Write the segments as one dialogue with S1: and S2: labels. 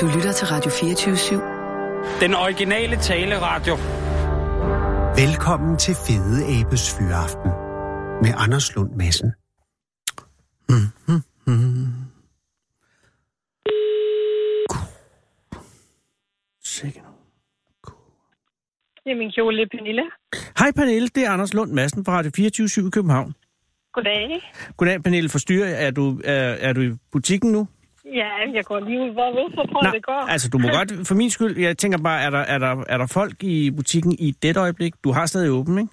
S1: Du lytter til Radio 24
S2: Den originale taleradio.
S3: Velkommen til Fede Abes Fyraften med Anders Lund Madsen.
S4: Sikke nu.
S5: Det er min kjole, Pernille.
S4: Hej Pernille, det er Anders Lund Madsen fra Radio 24 i København.
S5: Goddag.
S4: Goddag Pernille, forstyrrer jeg. er du, er, er du i butikken nu?
S5: Ja, jeg går lige ud. Hvor hvorfor prøver det går?
S4: altså du må godt, for min skyld, jeg tænker bare, er der, er der, er der folk i butikken i det øjeblik? Du har stadig åben, ikke?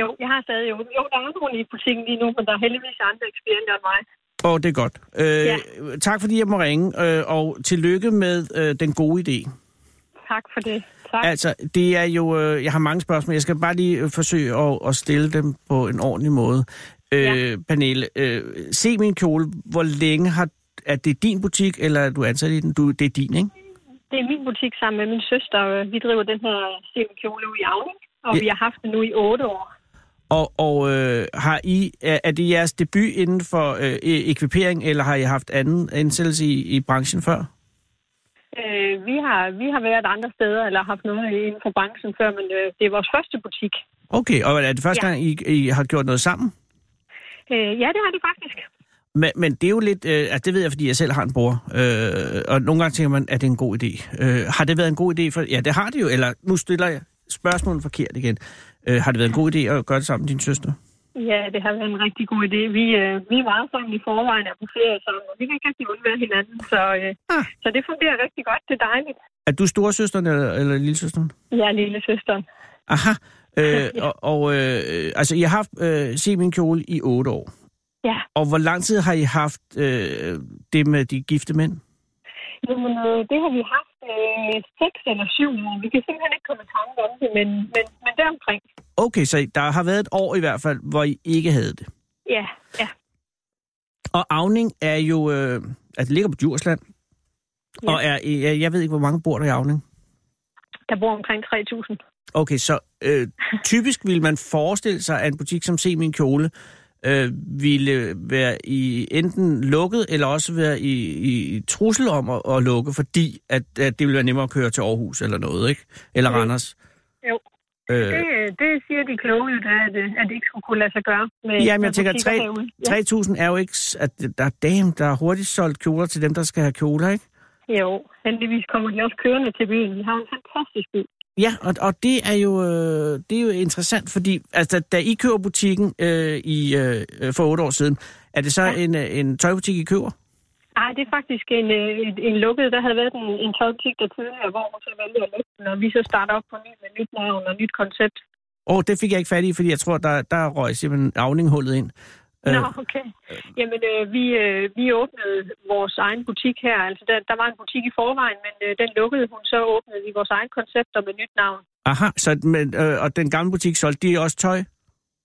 S5: Jo, jeg har stadig åbent. Jo, der er nogen i butikken lige nu, men der er heldigvis andre eksperienter end mig.
S4: Åh, oh, det er godt. Øh,
S5: Ja.
S4: Tak fordi jeg må ringe, øh, og tillykke med øh, den gode idé.
S5: Tak for det. Tak.
S4: Altså, det er jo... Øh, jeg har mange spørgsmål. Jeg skal bare lige øh, forsøge at, at stille dem på en ordentlig måde. Øh, ja. Pernille, øh, se min kjole. Hvor længe har... Er det din butik, eller er du ansat i den? Du, det er din, ikke?
S5: Det er min butik sammen med min søster. øh, Vi driver den her Steven kjole ud i Avning, og
S4: Ja.
S5: vi har haft den nu i otte år.
S4: Og, og øh, har I... Er, er det jeres debut inden for øh, ekvipering, eller har I haft anden ansættelse i, i branchen før?
S5: Øh, vi, har, vi har været andre steder, eller haft noget inden for branchen før, men øh, det er vores første butik.
S4: Okay, og er det første
S5: Ja.
S4: ja. gang, I, I har gjort noget sammen?
S5: Øh, ja, det har det faktisk.
S4: Men, men det er jo lidt, øh, altså det ved jeg, fordi jeg selv har en bror, øh, og nogle gange tænker man, er det en god idé? Øh, har det været en god idé? For, ja, det har det jo, eller nu stiller jeg spørgsmålet forkert igen. Øh, har det været en god idé at gøre det sammen med din søster?
S5: Ja, det har været en rigtig god idé. Vi, øh, vi er meget sammen i forvejen og på ferie sammen, og vi kan ikke rigtig undvære hinanden, så, øh,
S4: Ah.
S5: ah. så det fungerer rigtig godt. Det er dejligt.
S4: Er du storesøsteren eller, eller lillesøsteren?
S5: Jeg er lille søster.
S4: Aha, øh, og, og øh, altså I har haft øh, se min kjole i otte år,
S5: Ja,
S4: og hvor lang tid har I haft øh, det med de gifte mænd?
S5: Jamen, øh, det har vi haft øh, seks eller syv år. Vi kan simpelthen ikke komme i tanke om det, men, men, men deromkring.
S4: Okay, så der har været et år i hvert fald, hvor I ikke havde det.
S5: Ja, ja.
S4: Og Avning er jo, øh, altså det ligger på Djursland. Ja.
S5: Ja.
S4: Og er, jeg, jeg ved ikke, hvor mange bor der i Avning.
S5: Der bor omkring 3.000.
S4: Okay, så øh, typisk ville man forestille sig, at en butik som Se Min Kjole øh, ville være i enten lukket, eller også være i, i, i trussel om at, at lukke, fordi at, at det ville være nemmere at køre til Aarhus eller noget, ikke? Eller
S5: Jo.
S4: Randers.
S5: Jo.
S4: Øh,
S5: Det, det siger de kloge jo, da, at, øh, at det ikke skulle kunne lade sig gøre. Med,
S4: Jamen, jeg
S5: med
S4: tænker,
S5: butikker
S4: tre-
S5: herude. Ja.
S4: 3.000 er jo ikke... s- At, der, er- damn, der er hurtigt solgt kjoler til dem, der skal have kjoler, ikke?
S5: Jo, heldigvis kommer de også kørende til byen. Vi har en fantastisk by.
S4: Ja, og, og det, er jo, øh, det er jo interessant, fordi altså, da I køber butikken øh, i, øh, for otte år siden, er det så ja. en, øh, en tøjbutik, I køber?
S5: Nej, det er faktisk en, øh, en- en lukket. Der havde været en, en tøjbutik der tidligere, hvor hun så valgte at lukke den, og vi så starter op på ny med nyt navn og nyt koncept.
S4: Åh, oh, det fik jeg ikke fat i, fordi jeg tror, der, der røg simpelthen afninghullet ind.
S5: Nå, okay. Jamen, øh, vi, øh, vi åbnede vores egen butik her. Altså, der, der var en butik i forvejen, men øh, den lukkede hun, så åbnede vi vores egen koncepter med nyt navn.
S4: Aha, så, men, øh, og den gamle butik solgte de også tøj?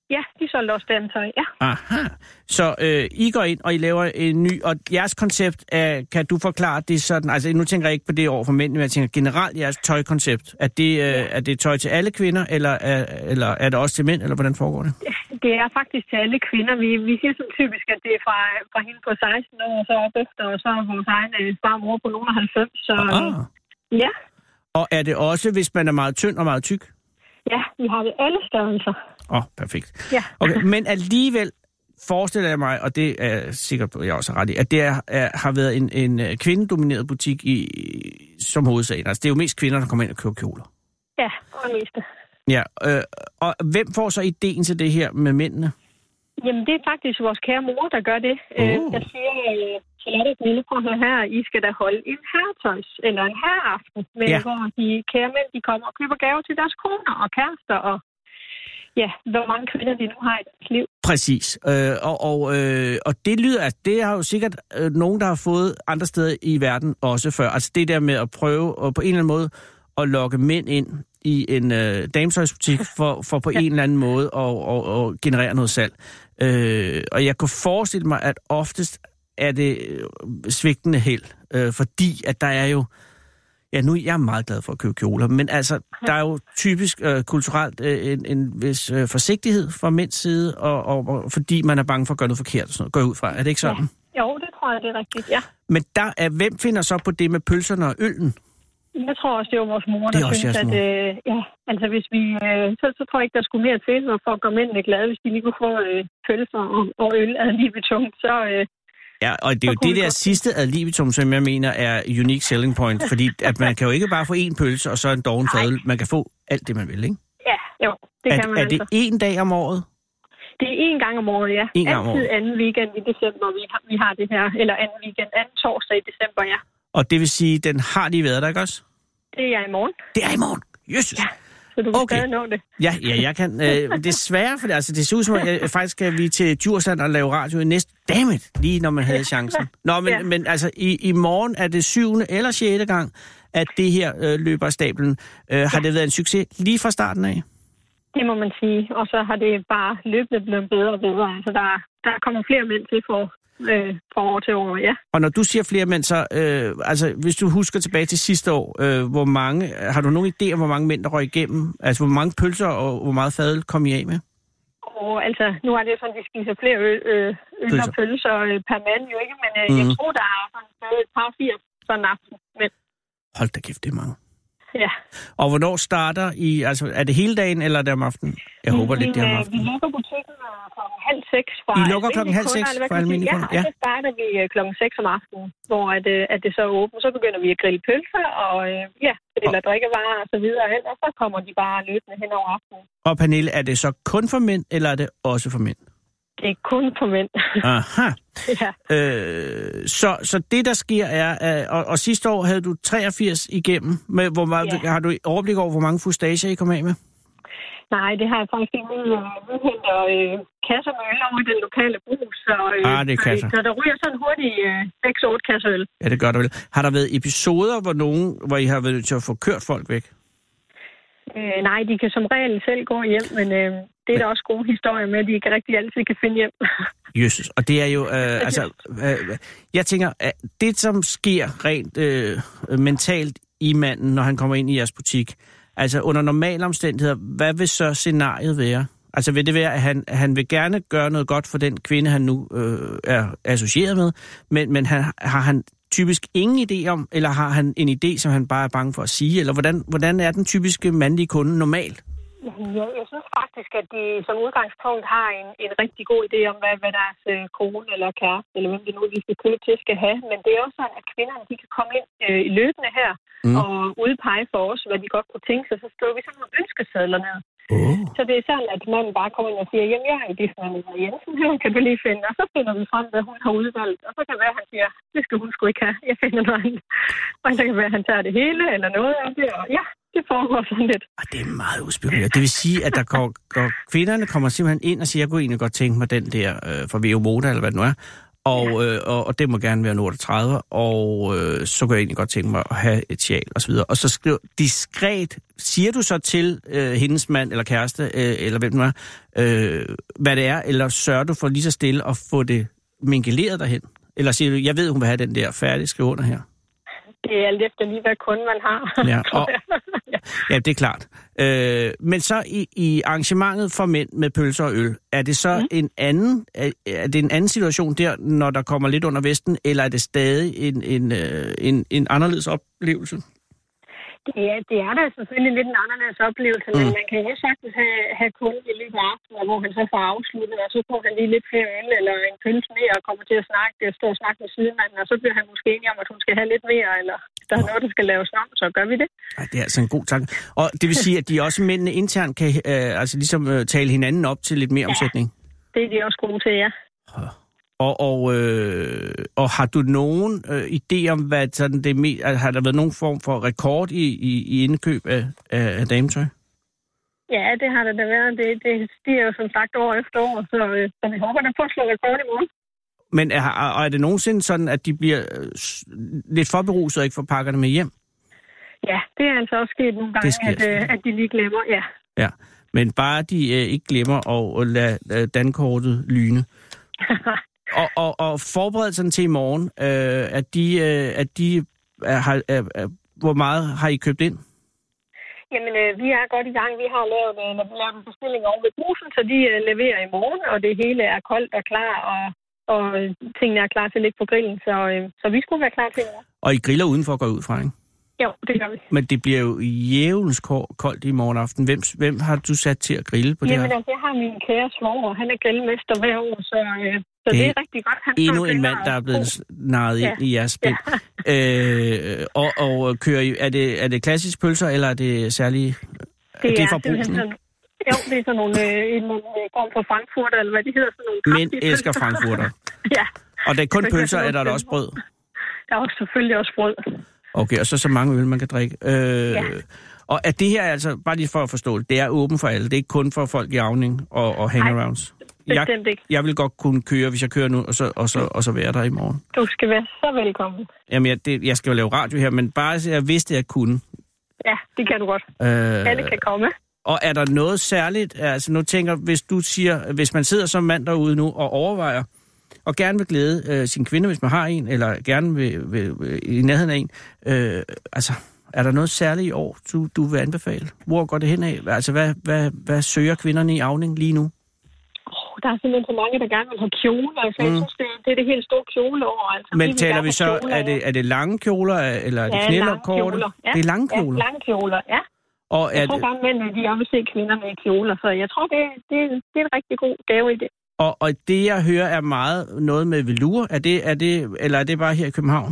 S5: Ja, de solgte også den tøj. Ja.
S4: Aha. Så øh, I går ind, og I laver en ny, og jeres koncept, er, kan du forklare det sådan, altså nu tænker jeg ikke på det over for mænd, men jeg tænker generelt jeres tøjkoncept, er det, øh, er det tøj til alle kvinder, eller er, eller er det også til mænd, eller hvordan foregår det?
S5: Det er faktisk til alle kvinder. Vi, vi siger sådan typisk, at det er fra, fra hende på 16 år og så op efter, og så er vores egen øh, farmor på nogen af 90. Så, øh,
S4: Aha.
S5: ja.
S4: Og er det også, hvis man er meget tynd og meget tyk?
S5: ja, vi har det alle størrelser.
S4: Åh, oh, perfekt.
S5: Ja.
S4: Okay, men alligevel forestiller jeg mig, og det er jeg sikker på, jeg også har ret i, at det er, er, har været en, en øh, kvindedomineret butik i, som hovedsagen. Altså, det er jo mest kvinder, der kommer ind og køber kjoler.
S5: Ja, og det meste.
S4: Ja, øh, og hvem får så ideen til det her med mændene?
S5: Jamen, det er faktisk vores kære mor, der gør det. Øh,
S4: Uh.
S5: der siger, øh, Charlotte, Pernille, prøv at høre her, I skal da holde en herretøjs, eller en herreaften, med,
S4: Ja.
S5: ja. hvor de kære mænd, de kommer og køber gaver til deres koner og kærester, og ja, hvor mange kvinder de nu har i deres liv.
S4: Præcis. Øh, og, og, øh, og det lyder, at det har jo sikkert øh, nogen, der har fået andre steder i verden også før. Altså det der med at prøve og på en eller anden måde at lokke mænd ind i en øh, dametøjsbutik for, for på en eller anden måde at og, og generere noget salg. Øh, og jeg kunne forestille mig, at oftest er det øh, svigtende held, øh, fordi at der er jo Ja, nu er jeg meget glad for at købe kjoler, men altså, der er jo typisk øh, kulturelt øh, en, en vis øh, forsigtighed fra mænds side, og, og, og fordi man er bange for at gøre noget forkert og sådan noget. Går jeg ud fra, er det ikke sådan? Ja.
S5: Jo, det tror jeg, det er rigtigt, ja.
S4: Men der er, hvem finder så på det med pølserne og øllen?
S5: Jeg tror også, det var vores mor,
S4: Det er
S5: der
S4: også
S5: synes,
S4: jeres
S5: at...
S4: mor.
S5: Øh, ja, altså hvis vi... Øh, så, så tror jeg ikke, der skulle mere til, når folk kom ind glade, hvis de lige kunne få øh, pølser og, og øl ad lige ved tungt, så... Øh,
S4: Ja, og det er
S5: Så
S4: jo
S5: kunne
S4: det
S5: vi
S4: der
S5: godt-
S4: sidste ad libitum, som jeg mener er unique selling point, fordi at man kan jo ikke bare få én pølse og så en doven fadøl. Man kan få alt det, man vil, ikke?
S5: ja, jo, det
S4: er,
S5: kan man
S4: er
S5: altså.
S4: det én dag om året?
S5: Det er én gang om året, ja.
S4: Én gang om
S5: Altid
S4: året.
S5: anden weekend i december, vi har, vi har det her. Eller anden weekend, anden torsdag i december, ja.
S4: Og det vil sige, den har lige været der, ikke også?
S5: Det er i morgen,
S4: Det er i morgen. Jesus. Ja.
S5: så du kan
S4: Okay.
S5: okay. stadig nå det.
S4: Ja, ja, jeg kan. Øh, men desværre, for det, altså, det ser ud som, at jeg, faktisk skal vi til Djursland og lave radio i næste. Dammit, lige når man havde chancen. Nå, men, ja.
S5: Ja.
S4: men altså, i, i morgen er det syvende eller sjette gang, at det her øh, løber af stablen. Øh, har det været en succes lige fra starten af?
S5: Det må man sige. Og så har det bare løbende blevet bedre og bedre. Altså, der, der kommer flere mænd til for, øh, for år til år, ja.
S4: Og når du siger flere mænd, så øh, altså, hvis du husker tilbage til sidste år, øh, hvor mange, har du nogen idé om, hvor mange mænd, der røg igennem? Altså, hvor mange pølser og hvor meget fadel kom I af med?
S5: Og altså, nu er det jo sådan, at de spiser flere øl, øh, øl og
S4: Pølser.
S5: pølser øh, per mand jo ikke, men øh, mm. jeg
S4: Mhm.
S5: tror, der er sådan stadig et par 80 sådan en aften. Men
S4: Hold da kæft, det er mange.
S5: ja,
S4: Og hvornår starter I? Altså, er det hele dagen, eller er det om aftenen? Jeg håber lidt, det er om
S5: øh, Vi
S4: aftenen.
S5: lukker butikken øh, klokken halv seks fra
S4: I lukker klokken
S5: almindelige
S4: halv seks
S5: kunder, eller hvad
S4: for
S5: kan man sige?
S4: almindelige kunder,
S5: Ja,
S4: ja.
S5: og så starter vi øh, klokken seks om aftenen, hvor at, øh, at det så er åbent. Så begynder vi at grille pølser og øh, ja, griller drikkevarer og så videre hen, og så kommer de bare løbende hen over aftenen.
S4: Og Pernille, er det så kun for mænd, eller er det også for mænd?
S5: Det er kun for mænd.
S4: Aha.
S5: ja.
S4: Øh, så, så det, der sker, er... Øh, og, og sidste år havde du 83 igennem. Med, hvor meget,
S5: Ja.
S4: Har du overblik over, hvor mange fustager I kom af med?
S5: Nej, det har jeg faktisk ikke. Vi, øh, vi henter øh, kasser med øl over i den lokale brug, så, øh,
S4: Ah, det er
S5: så-
S4: kasser.
S5: så der ryger sådan hurtigt øh, 6-8 kasser øl.
S4: Ja, det gør der vel. Har der været episoder, hvor, nogen, hvor I har været nødt til at få kørt folk væk?
S5: Øh, nej, de kan som regel selv gå hjem, men øh, det er der også gode historier med, at de ikke rigtig altid kan finde hjem.
S4: Jesus. Og det er jo... Øh, altså, øh, jeg tænker, at det, som sker rent øh, mentalt i manden, når han kommer ind i jeres butik, altså under normale omstændigheder, hvad vil så scenariet være? Altså vil det være, at han, han vil gerne gøre noget godt for den kvinde, han nu øh, er associeret med, men, men han, har han typisk ingen idé om, eller har han en idé, som han bare er bange for at sige? Eller hvordan, hvordan er den typiske mandlige kunde normalt?
S5: Jeg, jeg synes faktisk, at de som udgangspunkt har en, en rigtig god idé om, hvad, hvad deres øh, kone eller kæreste, eller hvem det nu, er, de skal købe til, skal have. Men det er også sådan, at kvinderne de kan komme ind øh, løbende her
S4: Mm.
S5: mm. og udpege for os, hvad de godt kunne tænke sig. Så skriver vi sådan nogle ønskesedler ned.
S4: Oh.
S5: Så det er sådan, at manden bare kommer ind og siger, jamen jeg er i Disney Jensen her, kan du lige finde? Og så finder vi frem, hvad hun har udvalgt. Og så kan det være, at han siger, det skal hun sgu ikke have, jeg finder noget andet. Og så kan det være, at han tager det hele eller noget af det, og ja, det foregår sådan lidt.
S4: Og det er meget uspekuleret. Det vil sige, at der går, går, kvinderne kommer simpelthen ind og siger, jeg kunne egentlig godt tænke mig den der øh, fra VO Moda, eller hvad det nu er, og, øh, og, og det må gerne være en 38, og øh, så kunne jeg egentlig godt tænke mig at have et sjal og så videre. Og så skriver diskret, siger du så til øh, hendes mand eller kæreste, øh, eller hvem det nu er, øh, hvad det er, eller sørger du for lige så stille at få det mingeleret derhen? Eller siger du, jeg ved, hun vil have den der færdig, skriv under her?
S5: Det er alt efter lige, hvad kunde man har.
S4: Ja,
S5: tror
S4: og-
S5: jeg. ja.
S4: Ja, det er klart. Øh, men så i, i arrangementet for mænd med pølser og øl, er det så mm. en anden er, er det en anden situation der, når der kommer lidt under vesten, eller er det stadig en, en, øh, en, en anderledes oplevelse?
S5: det, er, det er da selvfølgelig lidt en anderledes oplevelse, mm. men man kan jo sagtens have, have kunden i løbet af aftenen, hvor han så får afsluttet, og så får han lige lidt flere øl eller en pølse mere og kommer til at snakke, øh, stå og snakke med sidemanden, og så bliver han måske enig om, at hun skal have lidt mere, eller der er noget, der skal laves om, så gør vi det.
S4: Ej, det er altså en god tanke. Og det vil sige, at de også mændene internt kan øh, altså ligesom øh, tale hinanden op til lidt mere ja. omsætning?
S5: Det er de også gode til, ja.
S4: Og, og, øh, og har du nogen øh, idé om, hvad sådan det me- altså, har der været nogen form for rekord i, i, i indkøb af, af, af dametøj?
S5: Ja, det har det da været. Det, det stiger jo som sagt år efter år, så, øh, så vi håber, der på at slå rekord i morgen.
S4: Men er, og er det nogensinde sådan, at de bliver øh, s- lidt for beruset og ikke får pakkerne med hjem?
S5: Ja, det er altså også sket nogle gange,
S4: sker
S5: at, øh,
S4: selvfølgelig.
S5: at de lige glemmer. Ja,
S4: Ja. Men bare de øh, ikke glemmer at, at lade øh, dankortet lyne. og, og, og forberedelserne til i morgen, øh, at de, øh, at de er, har, er, er, hvor meget har I købt ind?
S5: Jamen, øh, vi er godt i gang. Vi har lavet, øh, lavet en bestilling over ved brusen, så de øh, leverer i morgen, og det hele er koldt og klar, og og øh, tingene er klar til at ligge på grillen, så, øh, så vi skulle være klar til det.
S4: Og I griller udenfor går jeg ud fra, ikke?
S5: Jo, det gør vi.
S4: Men det bliver jo jævlens ko- koldt i morgen aften. Hvem, hvem har du sat til at grille på det
S5: Jamen
S4: her?
S5: altså, jeg har min kære svoger, han er grillmester hver år, så, øh,
S4: Det
S5: så
S4: er
S5: det, det er rigtig godt. Han
S4: Endnu
S5: står
S4: en
S5: der
S4: mand,
S5: og-
S4: der er blevet narret ind i jeres spil. Øh, og, og kører I, er, det, er det klassisk pølser, eller er det særlige?
S5: Det,
S4: Det er
S5: er,
S4: fra
S5: simpelthen
S4: Brugsen,
S5: sådan, jo, det er sådan nogle, øh, en, en form for frankfurter, eller hvad de hedder, sådan nogle
S4: Mænd
S5: kraftige
S4: elsker
S5: pølser.
S4: frankfurter.
S5: ja,
S4: Og det er kun
S5: Jeg kan
S4: pølser,
S5: ikke
S4: eller er der
S5: finde
S4: også brød?
S5: der er også selvfølgelig også brød.
S4: Okay, og så så mange øl, man kan drikke. Øh, ja. Og er det her altså, bare lige for at forstå det, det er åben for alle. Det er ikke kun for folk i afning og, og hangarounds. Jeg,
S5: Bestemt ikke.
S4: jeg vil godt kunne køre, hvis jeg kører nu, og så, og så, og så være der i morgen.
S5: Du skal være så velkommen.
S4: Jamen, jeg, det, jeg skal jo lave radio her, men bare så jeg vidste, jeg kunne.
S5: Ja, det kan du godt.
S4: Øh,
S5: Alle kan komme.
S4: og er der noget særligt? Altså, nu tænker hvis du siger, hvis man sidder som mand derude nu og overvejer, og gerne vil glæde øh, sin kvinde, hvis man har en, eller gerne vil, vil, vil i nærheden af en, øh, altså, er der noget særligt i år, du, du vil anbefale? Hvor går det hen af? Altså, hvad, hvad, hvad søger kvinderne i Avning lige nu?
S5: Oh, der er simpelthen så mange, der gerne vil have kjoler. Så mm. jeg synes, det, det er det helt store kjoleår. Altså,
S4: Men
S5: vil
S4: taler
S5: gerne
S4: vi
S5: have
S4: så,
S5: kjoler.
S4: er det, er det lange kjoler, eller er det
S5: Ja,
S4: knæler,
S5: lange
S4: korte?
S5: kjoler. Ja,
S4: Det er lange
S5: Ja,
S4: kjoler.
S5: lange kjoler, ja.
S4: og er
S5: Jeg
S4: det,
S5: tror gerne, mændene, de også vil se kvinder med kjoler. Så jeg tror, det, det, det er en rigtig god gave i det.
S4: Og, og det, jeg hører, er meget noget med velure. Er det, er det, eller er det bare her i København?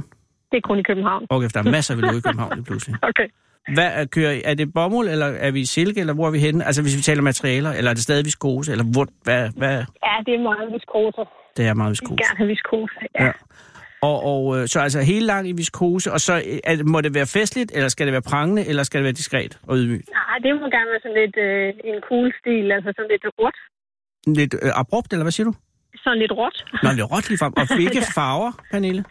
S5: Det er kun i København.
S4: Okay, for der er masser af velure i København lige pludselig.
S5: Okay.
S4: Hvad er, kører, I? er det bomuld, eller er vi i silke, eller hvor er vi henne? Altså, hvis vi taler materialer, eller er det stadig viskose, eller hvor, hvad, hvad?
S5: Ja, det er meget viskose.
S4: Det er meget
S5: Jeg vil
S4: viskose.
S5: gerne have viskose, ja.
S4: Ja. Og, og øh, så altså helt langt i viskose, og så øh, er, det- må det være festligt, eller skal det være prangende, eller skal det være diskret og ydmygt?
S5: Nej, det må gerne være sådan lidt øh, en cool stil, altså sådan lidt råt.
S4: Lidt øh, abrupt, eller hvad siger du?
S5: Sådan lidt råt.
S4: Nå, det er råt lige frem. Og hvilke farver, Pernille?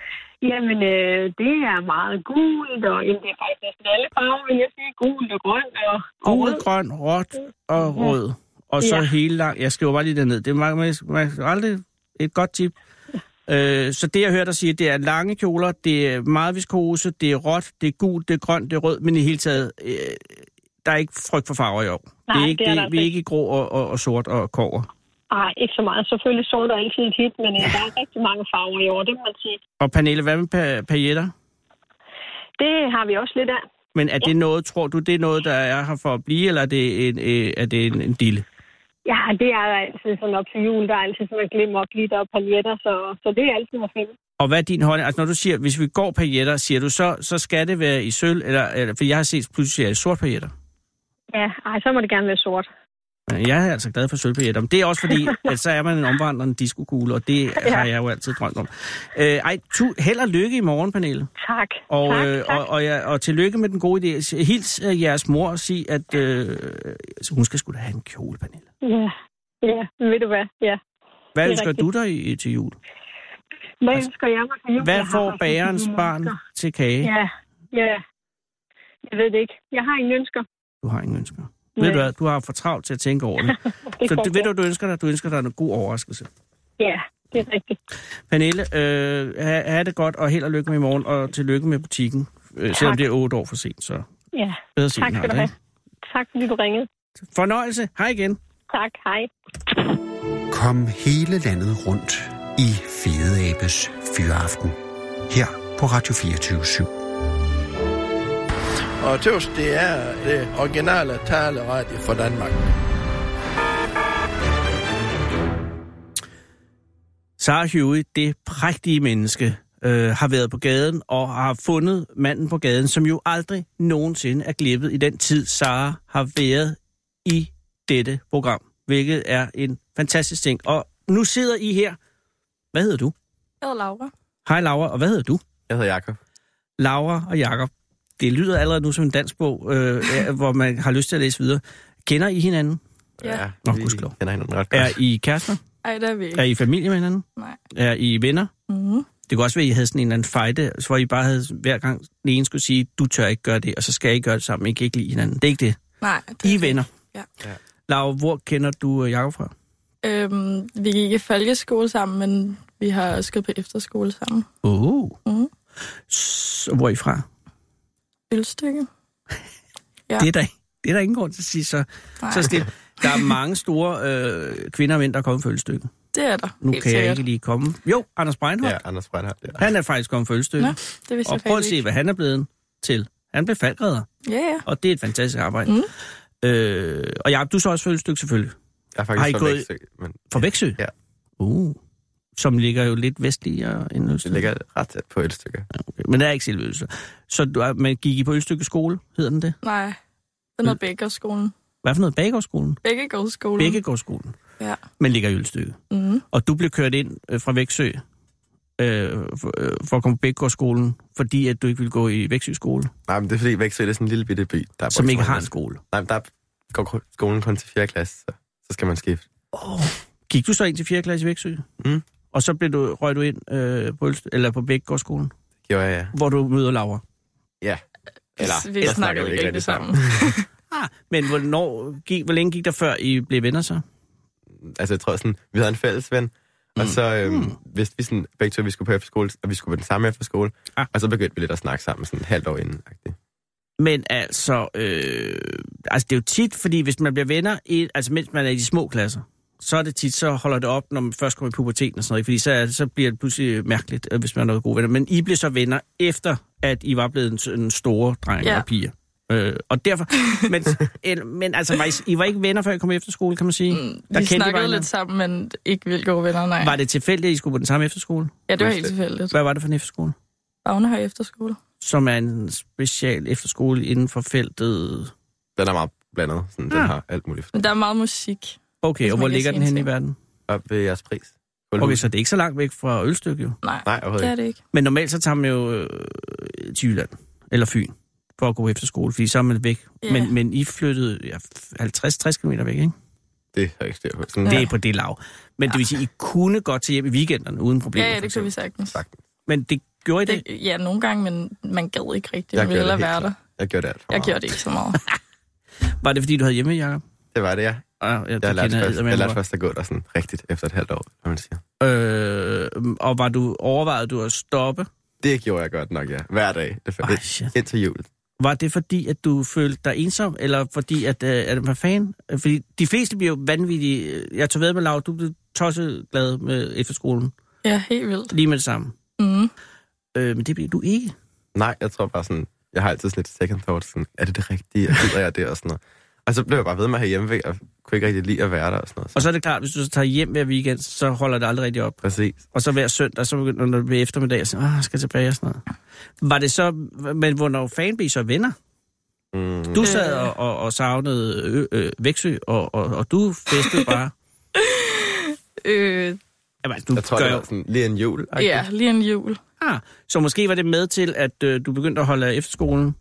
S5: Jamen, øh, det er meget gult, og jamen, det er faktisk næsten alle farver, vil jeg sige. Gult og grønt og, og
S4: Gul,
S5: rød.
S4: grøn, råt og rød. Og så
S5: Ja.
S4: hele lang... Jeg skriver bare lige det ned. Det er man, man, man, aldrig et godt tip. Øh, så det, jeg hører dig sige, det er lange kjoler, det er meget viskose, det er råt, det er gult, det er grønt, det er rød, men i hele taget, øh, der er ikke frygt for farver i år. det
S5: Nej,
S4: er ikke,
S5: det er der altså
S4: vi er
S5: ikke.
S4: ikke i grå og, og, og sort og kover.
S5: Nej, ikke så meget. Selvfølgelig sort er altid et hit, men øh, der er rigtig mange farver i år, det må man sige.
S4: Og Pernille, hvad med pa- pailletter?
S5: Det har vi også lidt af.
S4: Men er det noget, tror du, det er noget, der er her for at blive, eller er det en, øh, er det en, en dille?
S5: Ja, det er altid sådan op til jul, der er altid sådan noget glimmer og glitter og paljetter, så, så det er altid at finde.
S4: Og hvad er din holdning? Altså når du siger, hvis vi går pailletter, siger du så, så skal det være i sølv, eller, eller for jeg har set pludselig er det sort pailletter.
S5: Ja, ej, så må det gerne være sort.
S4: Men Jeg er altså glad for sølvpailletter, men det er også fordi, at så er man en omvandrende diskokugle, og det har jeg jo altid drømt om. Øh, ej, tu, held og lykke i morgen, Pernille.
S5: Tak.
S4: Og,
S5: tak,
S4: øh,
S5: tak.
S4: og, og, ja, og tillykke med den gode idé. S- Hils øh, jeres mor og sig, at øh, hun skal skulle da have en kjole, Pernille.
S5: Ja, ja, ved du hvad? Ja.
S4: Hvad
S5: Det er
S4: ønsker du
S5: rigtigt.
S4: dig i, til jul?
S5: Hvad
S4: Altså,
S5: altså, ønsker jeg mig til jul? Jeg
S4: Hvad
S5: har
S4: får
S5: faktisk ikke
S4: bagerens
S5: nogen
S4: barn
S5: ønsker.
S4: til kage?
S5: Ja, ja. Jeg ved det ikke. Jeg har ingen ønsker.
S4: Du har ingen ønsker.
S5: Nej.
S4: Ved du hvad, du har for travlt til at tænke over det.
S5: Det
S4: Så
S5: kan
S4: du,
S5: jeg
S4: ved du,
S5: godt.
S4: du ønsker dig? Du ønsker dig en god overraskelse.
S5: Ja, det er rigtigt.
S4: Pernille, øh, ha, ha' det godt, og held og lykke med i morgen, og tillykke med butikken. Øh, selvom det er otte år for sent, så
S5: Ja.
S4: bedre sent
S5: Tak
S4: end
S5: skal du
S4: aldrig.
S5: have. Tak fordi du ringede.
S4: ikke? Fornøjelse. Hej igen.
S5: Tak, hej.
S3: Kom hele landet rundt i Fede Abes Fyraften. Her på Radio 24 /7.
S6: Og tøvs, det er det originale taleradio for Danmark.
S4: Sarah Huey, det prægtige menneske, øh, har været på gaden og har fundet manden på gaden, som jo aldrig nogensinde er glippet i den tid, Sarah har været i dette program, hvilket er en fantastisk ting. Og nu sidder I her. Hvad hedder du?
S7: Jeg hedder Laura.
S4: Hej Laura, og hvad hedder du?
S8: Jeg hedder Jakob.
S4: Laura og Jakob. Det lyder allerede nu som en dansk bog, øh, ja, hvor man har lyst til at læse videre. Kender I hinanden?
S7: Ja.
S4: Nå,
S8: vi
S4: gudskelov.
S8: kender hinanden ret godt.
S4: Er I kærester?
S7: Ej, der er vi
S4: Er
S7: ikke.
S4: I familie med hinanden?
S7: Nej.
S4: Er I venner?
S7: Mm-hmm.
S4: Det kunne også være, at I havde sådan en eller anden fejde, så hvor I bare havde hver gang den ene skulle sige, du tør ikke gøre det, og så skal I gøre det sammen. I kan ikke lide hinanden. Det er ikke det.
S7: Nej. Det
S4: I er venner.
S7: Ja.
S8: Ja.
S4: Laura, hvor kender du øh, Jakob fra?
S7: Øhm, vi gik i folkeskole sammen, men vi har også gået på efterskole sammen.
S4: Oh.
S7: Mhm.
S4: S- hvor er I fra? Ja.
S7: Ølstykke. Ja.
S4: Det, er der, det er der ingen grund til at sige så,
S7: Nej,
S4: så stille. Der er mange store øh, kvinder og mænd, der er kommet følgestykke.
S7: det er der.
S4: Nu
S7: helt
S4: kan jeg
S7: sikkert.
S4: ikke lige komme. Jo, Anders Breinholt.
S8: Ja,
S4: Ja.
S8: Anders Breinhardt. Ja.
S4: Han er faktisk kommet for ølstøtte.
S7: Nå, det vidste
S4: og
S7: jeg
S4: prøv at
S7: faktisk
S4: se,
S7: ikke.
S4: hvad han er blevet til. Han blev faldredder,
S7: Ja, ja.
S4: og det er et fantastisk arbejde. Mm. Øh, og Jacob, du er så også følgestykke selvfølgelig.
S8: Jeg er
S4: Har I
S8: faktisk
S4: gået-
S8: fra Vækstø, men
S4: Fra Væksø?
S8: Ja.
S4: Uh, som ligger jo lidt vestligere end
S8: det
S4: Ølstykke.
S8: ligger ret tæt på ølstykker.
S4: Okay, Men der er ikke selve Ølstykke. Så du, er- men gik I på Ølstykke skole, hedder den det?
S7: Nej, den hedder Bækkerskolen.
S4: Hvad for noget? Bagårdsskolen?
S7: Bækkergårdsskolen.
S4: Bækkegårdsskolen.
S7: Mm. Ja.
S4: Men ligger i Ølstykke.
S7: Mm.
S4: Og du blev kørt ind øh, fra Væksø øh, for, øh, for at komme på Bækkegårdsskolen, fordi at du ikke ville gå i Væksø skole,
S8: Nej, men det er fordi Vækstø det er sådan en lille bitte by. Der er
S4: som ikke har en
S8: folkeskole.
S4: skole.
S8: Nej, men der går ko- skolen kun til 4. klasse, så, så skal man skifte.
S4: Gik du så ind til 4. klasse i Væksø?
S8: Mm.
S4: Og så blev du, røg du ind øh, på, Ølst, eller på Bækgårdsskolen,
S8: Jo, ja, ja.
S4: hvor du møder Laura.
S8: Eller,
S7: vi
S8: der
S7: snakker jo ikke rigtig sammen.
S4: Ah, men hvornår, gik, hvor længe gik der før, I blev venner så?
S8: altså jeg tror sådan, vi havde en fælles ven, og så øhm, vidste vi sådan, begge to, at vi skulle på efterskole, og vi skulle på den samme efterskole,
S4: Ah.
S8: ah. og så begyndte vi lidt at snakke sammen sådan et halvt år inden. -agtigt.
S4: Men altså, øh, altså, det er jo tit, fordi hvis man bliver venner, i, altså mens man er i de små klasser, så er det tit, så holder det op, når man først kommer i puberteten og sådan noget, ikke? fordi så, er det- så bliver det pludselig mærkeligt, øh, hvis man er noget gode venner. Men I blev så venner efter, at I var blevet en, en store dreng ja.
S7: Ja.
S4: og piger. Øh, og derfor, men, en, men altså, var I, I var ikke venner, før I kom efter skole, kan man sige? Mm,
S7: Vi snakkede lidt sammen, men ikke vildt gode venner, nej.
S4: Var det tilfældigt, at I skulle på den samme efterskole?
S7: Ja, det var helt tilfældigt.
S4: Hvad var det for en efterskole?
S7: Bagnehøj Efterskole.
S4: Som er en special efterskole inden for feltet...
S8: Den er meget blandet, sådan,
S4: Ah.
S8: den har alt muligt.
S7: Men der er meget musik.
S4: Okay,
S7: Hvis
S4: og
S7: man
S4: hvor
S7: kan
S4: ligger
S7: sige
S4: den hen i
S7: indtil.
S4: verden?
S8: Op ved jeres pris.
S4: Okay, så det er ikke så langt væk fra Ølstykke jo.
S7: Nej,
S8: Nej, overhovedet
S7: det er det ikke.
S4: Men normalt så tager man jo øh, til Jylland eller Fyn for at gå efter skole, fordi så er man væk.
S7: Ja.
S4: Men, men I flyttede ja, 50-60 km væk, ikke?
S8: Det har jeg ikke styr på. Sådan,
S4: Ja. Det
S8: ja.
S4: er på det lav. Men ja. det vil sige, I kunne godt til hjem i weekenderne uden
S7: Ja,
S4: problemer.
S7: ja,
S4: for
S7: det kunne vi
S4: eksempel.
S7: sagtens.
S8: Sagtens.
S4: Men det gjorde I det?
S7: Det, ja, nogle gange, men man gad ikke rigtigt.
S8: Jeg
S7: Man ville
S8: gjorde det
S7: hellere
S8: helt
S7: være der.
S8: klart. Jeg gjorde det alt for
S7: Jeg
S8: meget.
S7: gjorde det ikke så meget.
S4: Var det, fordi du havde hjemme, Jacob?
S8: Det var det, ja.
S4: Ah, ja, det
S8: Jeg lærte,
S4: kender
S8: først,
S4: eddermame
S8: jeg lærte
S4: godt.
S8: først at gå der sådan rigtigt efter et halvt år, når man siger.
S4: Øh, og var du, overvejede du at stoppe?
S8: Det gjorde jeg godt nok, ja. Hver dag. Det
S4: Ej,
S8: faldt
S4: shit.
S8: indtil jul.
S4: Var det fordi, at du følte dig ensom, eller fordi, at, øh, at man fan? Fordi de fleste bliver jo vanvittige. Jeg tog ved med Lav, du blev tosset glad med efterskolen
S7: Ja, helt vildt.
S4: lige med det samme.
S7: Mm.
S4: Øh, men det blev du ikke.
S8: Nej, jeg tror bare sådan, jeg har altid sådan lidt second thought, sådan, er det det rigtige, og gider jeg det, og sådan noget. Og så blev jeg bare ved med at have hjemmevæg, og kunne ikke rigtig lide at være der, og sådan noget. Så,
S4: Og så er det klart, hvis du så tager hjem hver weekend, så holder det aldrig rigtig op.
S8: præcis.
S4: Og så hver søndag, så begynder det ved eftermiddag, så ah, jeg skal tilbage og sådan noget. Var det så, men hvornår fan blev I så venner?
S8: Mm,
S4: Du sad og, og, og savnede ø, øh, Væksø, og, og, og du festede bare.
S7: Øh,
S4: Jamen, du
S8: jeg tror,
S4: gør
S8: det
S4: jo-
S8: var sådan lige en jul.
S7: ja, lige en jul.
S4: Ah, så måske var det med til, at øh, du begyndte at holde af efterskolen?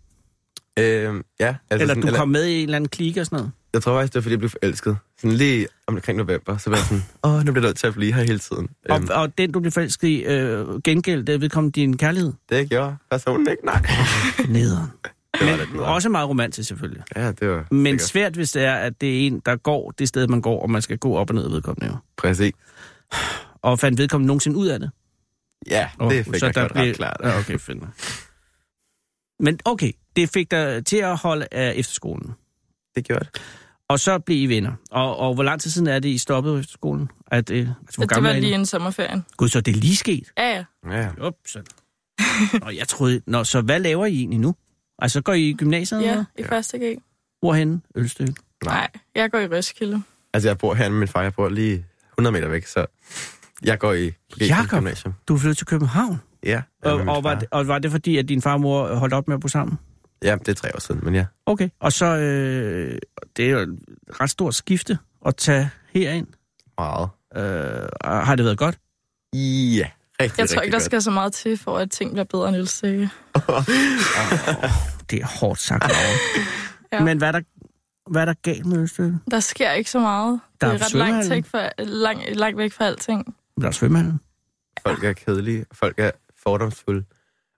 S8: Øhm, ja, altså
S4: Eller
S8: sådan,
S4: du kom med i en eller anden klike og sådan noget?
S8: Jeg tror faktisk, det var, fordi jeg blev forelsket. Sådan lige omkring november, så var jeg sådan, åh, nu bliver jeg nødt til at blive her hele tiden. Øhm,
S4: Og, og den, du blev forelsket i, øh, gengæld, det vedkom din kærlighed?
S8: det gjorde personen ikke, nej.
S4: Nederen.
S8: Det var lidt noget.
S4: Også meget romantisk, selvfølgelig.
S8: Ja, det var
S4: Men
S8: sikkert.
S4: svært, hvis det er, at det er en, der går det sted, man går, og man skal gå op og ned af vedkommende. Jo.
S8: Præcis.
S4: Og fandt vedkommende nogensinde ud af det?
S8: Ja,
S4: Åh,
S8: det fik jeg godt ret klart.
S4: Ja, okay, fint. nok. Men okay, det fik dig til at holde af efterskolen.
S8: Det gjorde det.
S4: Og så blev I venner. Og, og hvor lang tid siden er det, I stoppede på efterskolen? At, øh, altså, hvor
S7: Det
S4: gammel
S7: var
S4: er I nu?
S7: lige en sommerferien. Gud.
S4: Gud, så er det lige sket?
S7: Ja, ja.
S8: Ja.
S4: Upsen. Nå, jeg troede... Nå, så hvad laver I egentlig nu? Altså, går I i gymnasiet?
S7: ja
S4: Ja.
S7: i første G.
S4: Hvorhen? Ølstykke.
S7: Nej, jeg går i Roskilde.
S8: Altså, jeg bor her med min far, jeg bor lige 100 meter væk, så jeg går i
S4: Jakob!
S8: Gymnasium.
S4: Du er flyttet til København.
S8: Ja.
S4: Og,
S8: med min
S4: og, var
S8: far.
S4: det, og var det fordi, at din far og mor holdt op med at bo sammen?
S8: Ja, det er tre år siden, men ja.
S4: Okay. Og så... Øh, det er jo et ret stort skifte at tage herind.
S8: Meget.
S4: Øh, og har det været godt?
S8: Ja, rigtig,
S7: Jeg
S8: rigtig
S7: tror ikke, der
S8: godt.
S7: skal så meget til, for at ting bliver bedre end ølstykke.
S4: Det er hårdt sagt over. ja.
S7: Ja.
S4: Men hvad er, der, hvad er der galt med Ølstykke?
S7: Der sker ikke så meget.
S4: Der
S7: det
S4: er
S7: er ret langt,
S4: svømmehallen.
S7: væk fra, lang, langt væk fra alting.
S4: Der er svømmehallen.
S8: Folk er kedelige, folk er fordomsfulde.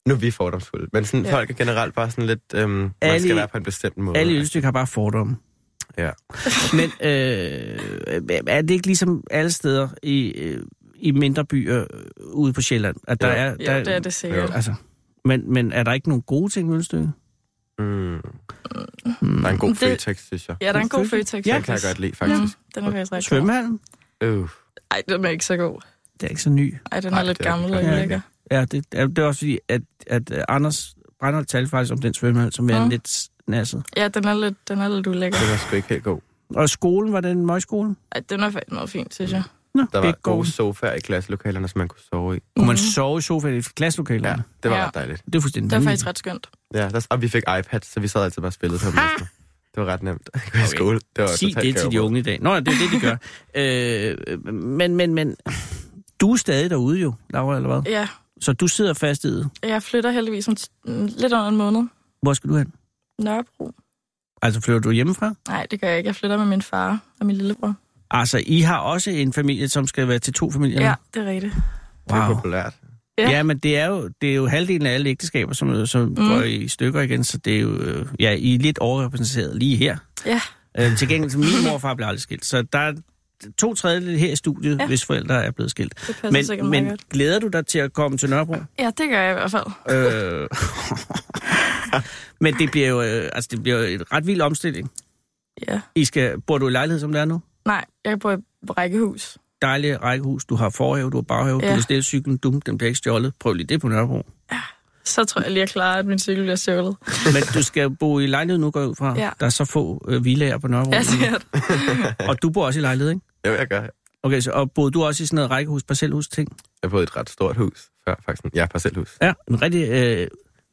S8: Nu er vi fordomsfulde, men sådan,
S7: Ja.
S8: ja. folk er generelt bare sådan lidt, øhm, man
S4: Alle-
S8: skal være på en bestemt måde.
S4: Alle Ølstykke har bare fordomme.
S8: Ja.
S4: Men øh, er det ikke ligesom alle steder i, øh, i mindre byer øh, ude på Sjælland? At der
S8: Jo.
S4: er, der,
S7: Ja, det er det sikkert.
S4: Altså, men, men er der ikke nogen gode ting ved Ølstykke?
S8: Mm. Der er en
S4: Mm,
S8: god
S7: Det-
S8: det... Føtex, synes jeg.
S7: Ja, der er en god
S8: Den
S7: Føtex.
S8: kan jeg godt lide, faktisk.
S7: Den er faktisk rigtig god.
S4: Hmm. Svømmehallen?
S8: Øh,
S7: Ej, den er ikke så god.
S4: Det er ikke så ny.
S7: Ej, den er
S8: Ej,
S7: Ej, lidt
S8: det er
S7: gammel
S8: den
S7: og
S8: faktisk
S7: lækker.
S4: Ja, det, ja, det er også fordi, at, at øh, Anders Brandholt talte faktisk om den svømmehal, som er
S7: Nå.
S4: lidt nasset.
S7: Ja, den er lidt, den er lidt ulækker.
S8: Den var sgu ikke helt god.
S4: Og skolen, var den møgskolen?
S7: Ej, den er faktisk meget fin, synes jeg.
S4: Nå,
S8: Der var
S4: Bækgården.
S8: gode sofaer i klasselokalerne, som man kunne sove i.
S4: Kunne man sove i sofaen i klasselokalerne?
S8: Ja,
S4: Mm. Ja.
S8: det var
S7: Ja.
S8: ret dejligt.
S4: Det er fuldstændig
S7: Mhm. Det er
S4: vanvittigt.
S7: faktisk ret skønt.
S8: Ja, der, og vi fik iPad, så vi sad altid bare og spillede på dem. næsten. Det var ret nemt. Gå i skole. Det var
S4: Sig
S8: totalt
S4: det til de
S8: kaos.
S4: unge i dag. Nå, ja, det er det, de gør. øh, men, men, men, du er stadig derude jo, Laura, eller hvad?
S7: Ja,
S4: Så du sidder fast i det.
S7: jeg flytter heldigvis om t- mm, lidt under en måned.
S4: Hvor skal du hen?
S7: Nørrebro.
S4: Altså, flytter du hjemmefra?
S7: Nej, det gør jeg ikke. Jeg flytter med min far og min lillebror.
S4: Altså, I har også en familie, som skal være til to familier.
S7: Ja, ja det er rigtigt.
S8: Det er
S4: Wow.
S8: populært.
S7: Ja.
S4: Ja. ja, men det er, jo, det er jo halvdelen af alle ægteskaber, som, som mm. går i stykker igen, så det er jo, øh, ja, I er lidt overrepræsenteret lige her.
S7: Ja,
S4: Øh, til gengæld, min morfar blev aldrig skilt, så der er to tredjedel her i studiet, ja.
S7: Ja.
S4: hvis forældre er blevet skilt.
S7: det passer sikkert
S4: Men,
S7: meget
S4: men
S7: godt.
S4: glæder du dig til at komme til Nørrebro?
S7: Ja, det gør jeg i hvert fald.
S4: Øh. Men det bliver jo øh, altså det bliver jo en ret vild omstilling.
S7: Ja.
S4: I skal, bor du i lejlighed, som det er nu?
S7: Nej, jeg bor i rækkehus.
S4: Dejlig rækkehus, du har forhave, du har baghave, ja. du
S7: Ja.
S4: kan stille cyklen, dum, den bliver ikke stjålet. Prøv lige det på Nørrebro.
S7: Så tror jeg lige, jeg klarer, at min cykel bliver stjålet.
S4: Men du skal bo i lejlighed nu, går jeg ud fra.
S7: Ja.
S4: Der er så få øh, villager på Nørrebro.
S7: Ja, det er det.
S4: Og du bor også i lejlighed, ikke?
S8: Jo, jeg gør.
S4: Okay, så, og boede du også i sådan noget rækkehus, parcelhus-ting?
S8: Jeg boede i et ret stort hus før, faktisk. Ja, parcelhus.
S4: Ja, en rigtig øh,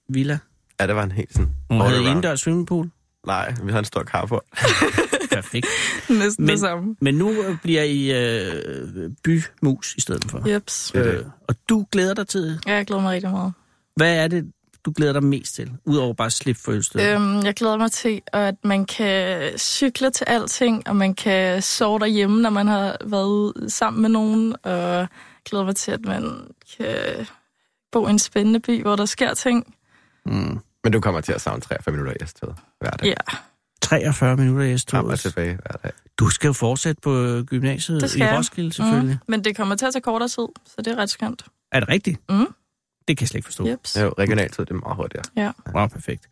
S4: villa.
S8: Ja, det var en helt sådan...
S4: Hun
S8: all
S4: havde
S8: around.
S4: indendørs swimmingpool.
S8: Nej, vi havde en stor carport.
S4: Perfekt.
S7: Næsten
S4: Men-
S7: det samme.
S4: Men nu øh, bliver I øh, bymus i stedet for.
S7: Jeps.
S8: Det er det.
S4: Øh, og du glæder dig til det.
S7: Ja, jeg glæder mig rigtig meget.
S4: Hvad er det, du glæder dig mest til? Udover bare at slippe for ølstedet. Øh.
S7: Øhm, jeg glæder mig til, at man kan cykle til alting, og man kan sove derhjemme, når man har været ude sammen med nogen. Og jeg glæder mig til, at man kan bo i en spændende by, hvor der sker ting.
S8: Mm. Men du kommer til at savne 43 minutter i S-toget hver dag.
S7: Ja,
S4: 43 minutter i
S8: Frem og
S4: S-toget.
S8: tilbage hver dag.
S4: Du skal jo fortsætte på øh, gymnasiet
S7: altså- Det skal
S4: i
S7: jeg.
S4: Roskilde, selvfølgelig. Mm.
S7: Mm. Men det kommer til at tage kortere tid, så det er ret skønt.
S4: Er det rigtigt?
S7: Mm.
S4: Det kan jeg slet ikke forstå.
S7: Jeps.
S8: Jo, regionaltid, det er meget hurtigere.
S4: Wow, perfekt.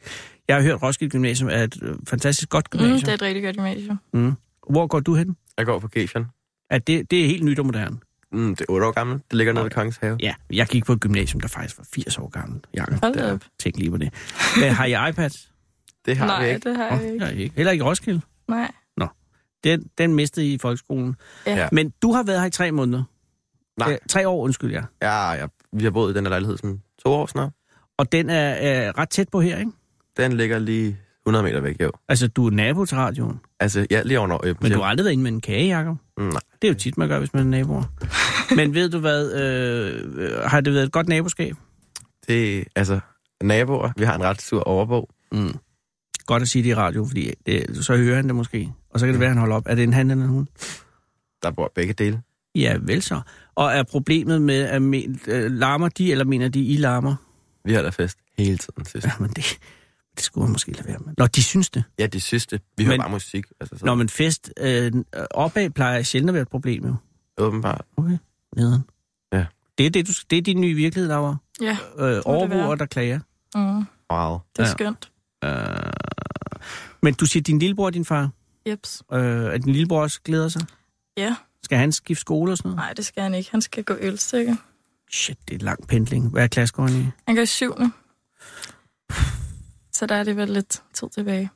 S4: Jeg har hørt, at Roskilde Gymnasium er et øh, fantastisk godt
S7: Mm, det
S4: gymnasium.
S7: er et rigtig godt gymnasium.
S4: Mm, Hvor går du hen?
S8: Jeg går på Gefion.
S4: Er det, det er helt nyt og moderne.
S8: Mm, det er 8 år gammelt. Det ligger nede ved Kongens Have.
S4: Ja, jeg gik på et gymnasium, der faktisk var 80 år gammel. Jeg
S7: Hold
S8: Det
S7: da
S8: er-
S7: op.
S4: tænk lige på det. Men har I iPad?
S8: Det har vi
S7: Nej,
S8: ikke.
S7: det har jeg
S4: Nej,
S7: ikke.
S4: ikke. Heller ikke i Roskilde.
S7: Nej.
S4: Den, den mistede I i folkeskolen.
S7: Ja.
S8: Ja.
S4: Men du har været her i tre måneder.
S8: Nej.
S4: Øh, tre år, undskyld jeg.
S8: Ja, jeg, vi har boet i den her lejlighed sådan to år snart.
S4: Og den er, er ret tæt på her, ikke?
S8: Den ligger lige 100 meter væk, jo.
S4: Altså, du er nabo til radioen.
S8: Altså, ja, lige over øh,
S4: Men du har aldrig været inde med en kage, Jacob.
S8: Nej,
S4: Det er jo tit, man gør, hvis man er naboer. Men ved du hvad, øh, øh, har det været et godt naboskab?
S8: det altså naboer. Vi har en ret sur overbo.
S4: Mm. Godt at sige det i radio, fordi det, så hører han det måske. Og så kan det være, han holder op. Er det en han eller en hun?
S8: Der bor begge dele.
S4: Ja, vel så. Og er problemet med, at men, øh, larmer de, eller mener de, I larmer?
S8: Vi har der fest hele tiden, synes
S4: Ja,
S8: jeg.
S4: men det, det skulle man måske lade være med. Nå, de synes det.
S8: Ja, de synes det. Vi hører
S4: Men-
S8: bare musik. Altså, så
S4: Nå, men fest øh, opad plejer sjældent at være et problem, jo.
S8: åbenbart.
S4: Okay, nederen.
S8: Ja.
S4: Det er, det, du, det er din nye virkelighed, Laura.
S7: Ja,
S4: Øh, overvåger,
S7: være.
S4: der klager.
S7: mm,
S8: Wow.
S7: det er
S4: Ja.
S7: skønt.
S4: Øh, men du siger, din lillebror og din far,
S7: Jeps.
S4: øh, at din lillebror også glæder sig.
S7: Ja.
S4: Skal han skifte skole og sådan noget?
S7: Nej, det skal han ikke. Han skal gå ølstykke.
S4: Shit, det er lang pendling. Hvad er klasse går han i?
S7: Han går i syvende. Så der er det vel lidt tid tilbage.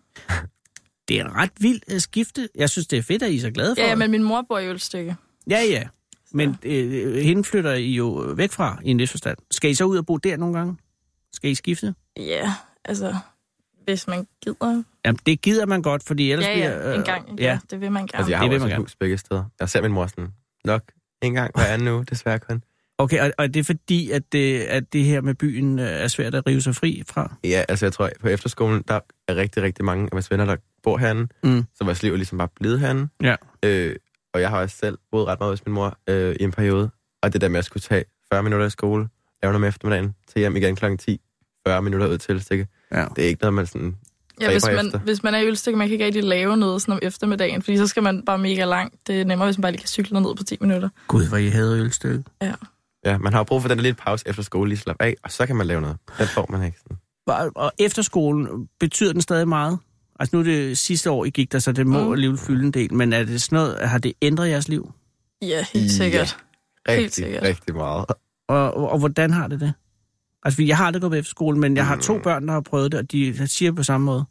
S4: Det er en ret vild øh, skifte. Jeg synes, det er fedt, at I er så glade for
S7: Ja, ja,
S4: det.
S7: men min mor bor i ølstykke.
S4: Ja, ja. Men øh, hende flytter I jo øh, væk fra i en vis forstand. Skal I så ud og bo der nogle gange? Skal I skifte?
S7: Ja, altså, hvis man gider.
S4: Jamen, det gider man godt, fordi ellers
S7: Ja,
S4: bliver... øh,
S7: ja, en gang. Ja,
S4: Ja,
S7: det vil man gerne.
S8: øh, Altså, jeg har
S4: det
S8: jo
S4: vil
S8: også
S4: man
S8: et
S4: gerne.
S8: hus begge steder. Jeg ser min mor sådan, nok en gang hver anden uge, desværre kun.
S4: okay. Og, og det er fordi, at det, at det her med byen øh, er svært at rive sig fri fra?
S8: Ja, altså jeg tror, at på efterskolen, der er rigtig, rigtig mange af vores venner, der bor herinde.
S4: Mm.
S8: Så vores liv er ligesom bare blevet herinde.
S4: Ja.
S8: Øh, og jeg har også selv boet ret meget hos min mor øh, i en periode. Og det der med at skulle tage 40 minutter i skole, lave noget med eftermiddagen, tage hjem igen kl. 10, 40 minutter ud til stikke.
S4: Ja.
S8: Det er ikke noget, man sådan...
S7: ja, hvis,
S8: stræber
S7: man,
S8: efter.
S7: hvis man er i ølstykke, man kan ikke rigtig lave noget sådan om eftermiddagen, fordi så skal man bare mega langt. Det er nemmere, hvis man bare lige kan cykle ned på 10 minutter.
S4: Gud, hvor I havde ølstykke.
S8: Ja, man har jo brug for den der lille pause efter skole, lige slappe af, og så kan man lave noget. Det får man ikke. Sådan.
S4: Og og efterskolen, betyder den stadig meget? Altså nu er det sidste år, I gik der, så det må
S7: Mm.
S4: alligevel fylde en del. Men er det sådan noget, har det ændret jeres liv?
S7: Ja, helt
S8: Ja.
S7: sikkert. Helt
S8: Rigtig,
S7: sikkert.
S8: rigtig meget.
S4: Og, og, og hvordan har det det? Altså, fordi jeg har aldrig gået på efterskole, men jeg har to børn, der har prøvet det, og de siger på samme måde. Men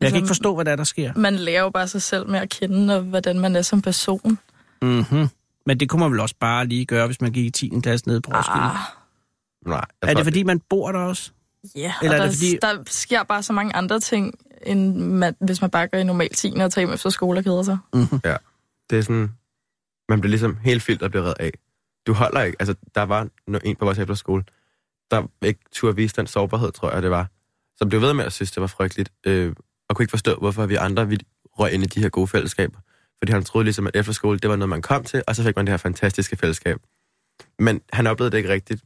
S4: jeg
S7: Altså,
S4: kan ikke forstå, hvad der, er, der sker.
S7: Man lærer jo bare sig selv med at kende, og hvordan man er som person.
S4: Mm-hmm. Men det kunne man vel også bare lige gøre, hvis man gik i 10. klasse nede på Roskilde.
S7: Ah,
S4: Ah,
S8: Nej, jeg
S4: er
S8: tror,
S4: det, fordi man bor der også?
S7: ja.
S4: Eller
S7: Eller
S4: er
S7: der,
S4: det fordi-
S7: fordi... der sker bare så mange andre ting, end man, hvis man bare gør i normal 10 og tager hjem efter skole og keder sig.
S8: det er sådan, man bliver ligesom helt filtret bliver reddet af. Du holder ikke, altså der var no- en på vores efterskole, der ikke turde vise den sårbarhed, tror jeg det var, som blev ved med at synes, det var frygteligt, øh, og kunne ikke forstå, hvorfor vi andre vi røg ind i de her gode fællesskaber. Fordi han troede ligesom, at efterskole, det var noget, man kom til, og så fik man det her fantastiske fællesskab. Men han oplevede det ikke rigtigt,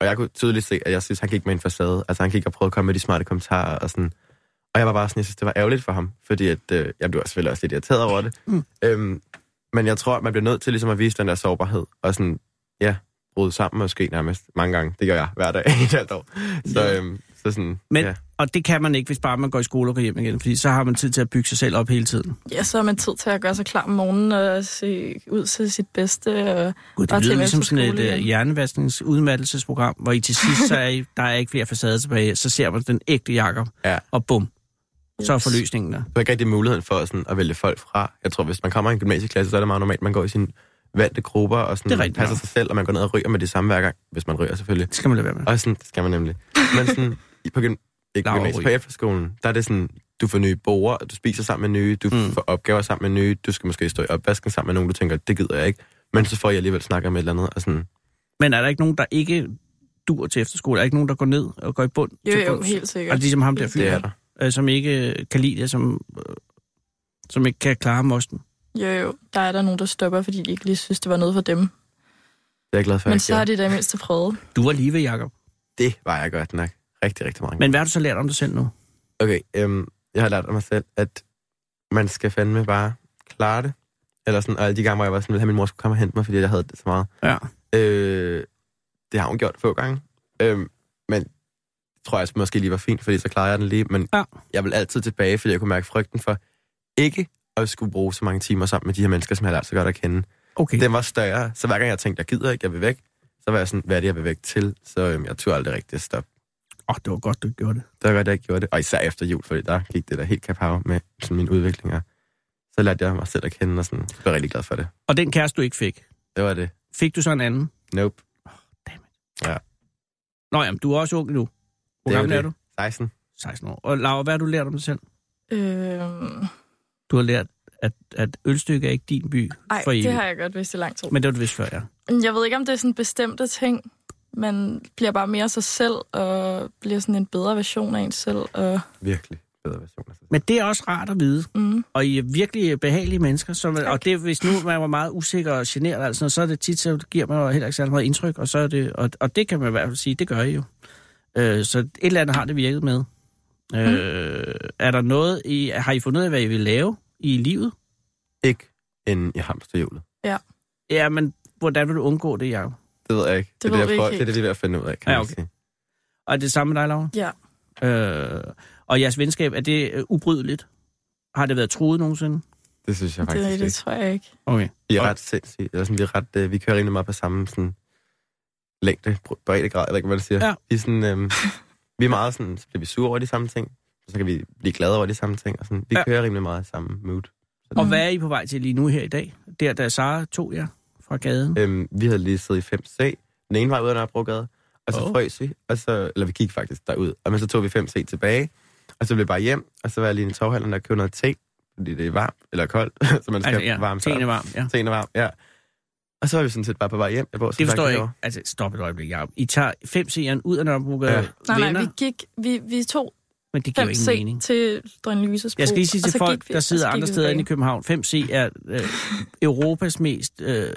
S8: og jeg kunne tydeligt se, at jeg synes, han gik med en facade. Altså han gik og prøvede at komme med de smarte kommentarer og sådan. Og jeg var bare sådan, jeg synes, det var ærgerligt for ham, fordi at, øh, jeg blev selvfølgelig også lidt irriteret over det. Mm. Øhm, men jeg tror, man bliver nødt til ligesom at vise den der sårbarhed, og sådan, ja, bryde sammen måske nærmest mange gange. Det gør jeg hver dag i et halvt år. Så,
S4: Ja.
S8: øhm, så sådan,
S4: Men,
S8: ja.
S4: Og det kan man ikke, hvis bare man går i skole og går hjem igen, fordi så har man tid til at bygge sig selv op hele tiden.
S7: Ja, så har man tid til at gøre sig klar om morgenen og se ud til sit bedste. Og
S4: Gud, det
S7: Og til
S4: lyder ligesom
S7: efterskole
S4: sådan et
S7: igen.
S4: uh, hjernevaskningsudmattelsesprogram, hvor I til sidst, så er I, der er ikke flere facader tilbage, så ser man den ægte Jakob,
S8: Ja.
S4: og bum, så er
S7: Yes.
S4: forløsningen der.
S8: Du har ikke rigtig muligheden for sådan, at vælge folk fra. Jeg tror, hvis man kommer i en gymnasieklasse, så er det meget normalt, man går i sine vante grupper, og
S4: Det er
S8: sådan,
S4: rigtigt
S8: passer
S4: nok.
S8: sig selv, og man går ned og ryger med det samme hver gang, hvis man ryger selvfølgelig.
S4: Det skal man lade være med.
S8: Og sådan, det skal man nemlig. Men sådan, i- på, gym, ikke
S4: Lav og
S8: gymnasiet,
S4: ryg.
S8: på efterskolen, der er det sådan, du får nye borger, du spiser sammen med nye, du
S4: Mm.
S8: mm. får opgaver sammen med nye, du skal måske stå i opvasken sammen med nogen, du tænker, det gider jeg ikke. Men så får jeg alligevel snakket med et eller andet, og sådan,
S4: Men er der ikke nogen, der ikke dur til efterskole? Er der ikke nogen, der går ned og går i bund?
S7: Jo,
S4: til
S7: jo,
S4: bunds?
S7: helt
S4: Og
S7: sikkert.
S4: det er ligesom ham der
S8: det er
S4: fyr,
S8: der.
S4: øh, som ikke øh, kan lide det, som, øh, som ikke kan klare mosten.
S7: Jo, jo, der er der nogen, der stopper, fordi de ikke lige synes, det var noget for dem.
S8: Det er jeg glad for,
S7: Men
S8: jeg
S7: så
S8: ikke
S7: har
S8: gjorde.
S7: de da mindst prøvet.
S4: Du var lige ved, Jacob.
S8: Det var jeg godt nok. Rigtig, rigtig meget.
S4: Men hvad har du så lært om dig selv nu?
S8: Okay, øhm, jeg har lært af mig selv, at man skal fandme bare klare det. Eller sådan, og alle de gange, hvor jeg var sådan, ville have, at min mor skulle komme og hente mig, fordi jeg havde det så meget.
S4: Ja.
S8: Øh, det har hun gjort få gange. Øh, men det tror jeg altså måske lige var fint, fordi så klarede jeg den lige. Men
S4: Ja.
S8: ja. jeg vil altid tilbage, fordi jeg kunne mærke frygten for ikke at skulle bruge så mange timer sammen med de her mennesker, som jeg har lært så godt at kende.
S4: Okay.
S8: Den var større, så hver gang jeg tænkte, jeg gider ikke, jeg vil væk, så var jeg sådan, hvad er det, jeg vil væk til? Så øhm, jeg turde aldrig rigtig at stoppe.
S4: Åh, oh, det var godt, du gjorde det.
S8: Det var godt, jeg ikke gjorde det. Og især efter jul, fordi der gik det der helt kapav med sådan mine udviklinger. Så lærte jeg mig selv at kende, og sådan, så blev jeg rigtig glad for det.
S4: Og den kæreste, du ikke fik,
S8: Det var det.
S4: fik du så en anden?
S8: Nope.
S4: Nå jamen, du er også ung nu. Hvor
S8: Det er
S4: gammel
S8: jo
S4: er
S8: det.
S4: du?
S8: 16.
S4: 16 år. Og Laura, hvad har du lært om dig selv?
S7: Øh,
S4: Du har lært, at, at ølstykke er ikke din by
S7: ej,
S4: for evigt.
S7: det har jeg godt vidst i lang tid.
S4: Men det var du vist før, ja.
S7: Jeg ved ikke, om det er sådan bestemte ting. Man bliver bare mere sig selv, og bliver sådan en bedre version af en selv. Og,
S8: Virkelig bedre version af sig selv.
S4: Men det er også rart at vide.
S7: mm,
S4: Og I er virkelig behagelige mennesker. Som, og det, hvis nu man var meget usikker og generet, og alt sådan noget, så er det tit, så giver man jo heller ikke særlig meget indtryk. Og, så er det, og, og det kan man i hvert fald sige, det gør I jo. Øh, så et eller andet har det virket med. Øh,
S7: Mhm.
S4: er der noget, I, har I fundet ud af, hvad I vil lave i livet?
S8: Ikke inde i hamsterhjulet.
S4: Ja, men hvordan vil du undgå det, Jacob?
S8: Det ved jeg ikke.
S7: Det ved
S8: er
S7: vi
S8: det,
S7: ikke
S8: jeg prøver- det, er
S7: helt.
S8: det, vi er ved at finde ud af, kan
S4: Ja,
S8: ja, okay.
S4: okay.
S8: man sige.
S4: Og er det samme med dig, Laura?
S7: ja,
S4: Øh, og jeres venskab, er det øh, ubrydeligt? Har det været truet nogensinde?
S8: Det synes jeg faktisk
S7: det,
S8: det,
S7: det
S8: ikke.
S7: tror jeg ikke.
S4: Okay.
S8: Vi er ret sindssyge. Eller sådan, vi, er ret, øh, vi kører rimelig meget på samme sådan, længde, br- breddegrad, eller ikke, hvad man siger.
S4: Ja.
S8: Vi, er sådan, øhm, vi er meget sådan, så bliver vi sure over de samme ting, og så kan vi blive glade over de samme ting. Og sådan. Vi
S4: Ja.
S8: ja. kører rimelig meget i samme mood.
S4: Og hvad er I på vej til lige nu her i dag? Der, da Sara tog jer fra gaden.
S8: Øhm, vi havde lige siddet i 5C. Den ene vej ud af Nørrebrogade. Og så
S4: Åh.
S8: oh. frøs vi. Og så, eller vi gik faktisk derud. Og men så tog vi 5C tilbage. Og så blev jeg bare hjem. Og så var jeg lige i torvhallen og købte noget te. Fordi det er varmt. Eller koldt. så man
S4: Altså,
S8: skal altså,
S4: ja,
S8: varme sig.
S4: teen er varm, ja.
S8: Teen er varm, ja. Og så var vi sådan set bare på vej hjem. Jeg bor, som
S4: Det
S8: sagt
S4: forstår jeg ikke.
S8: herovre.
S4: Altså, stop et øjeblik, Jacob. I tager fem seeren ud af Nørrebrogade, ja.
S8: Ja.
S7: Nej,
S4: venner,
S7: nej, vi gik, vi, vi tog
S4: men det giver jo ingen
S7: 5C
S4: mening.
S7: til Drøn Lyses
S4: Jeg skal lige sige
S7: og
S4: til
S7: så
S4: folk,
S7: gik vi-
S4: der
S7: og så
S4: sidder
S7: gik
S4: andre
S7: vi
S4: steder inde i
S7: tilbage.
S4: København, 5C er øh, Europas mest øh,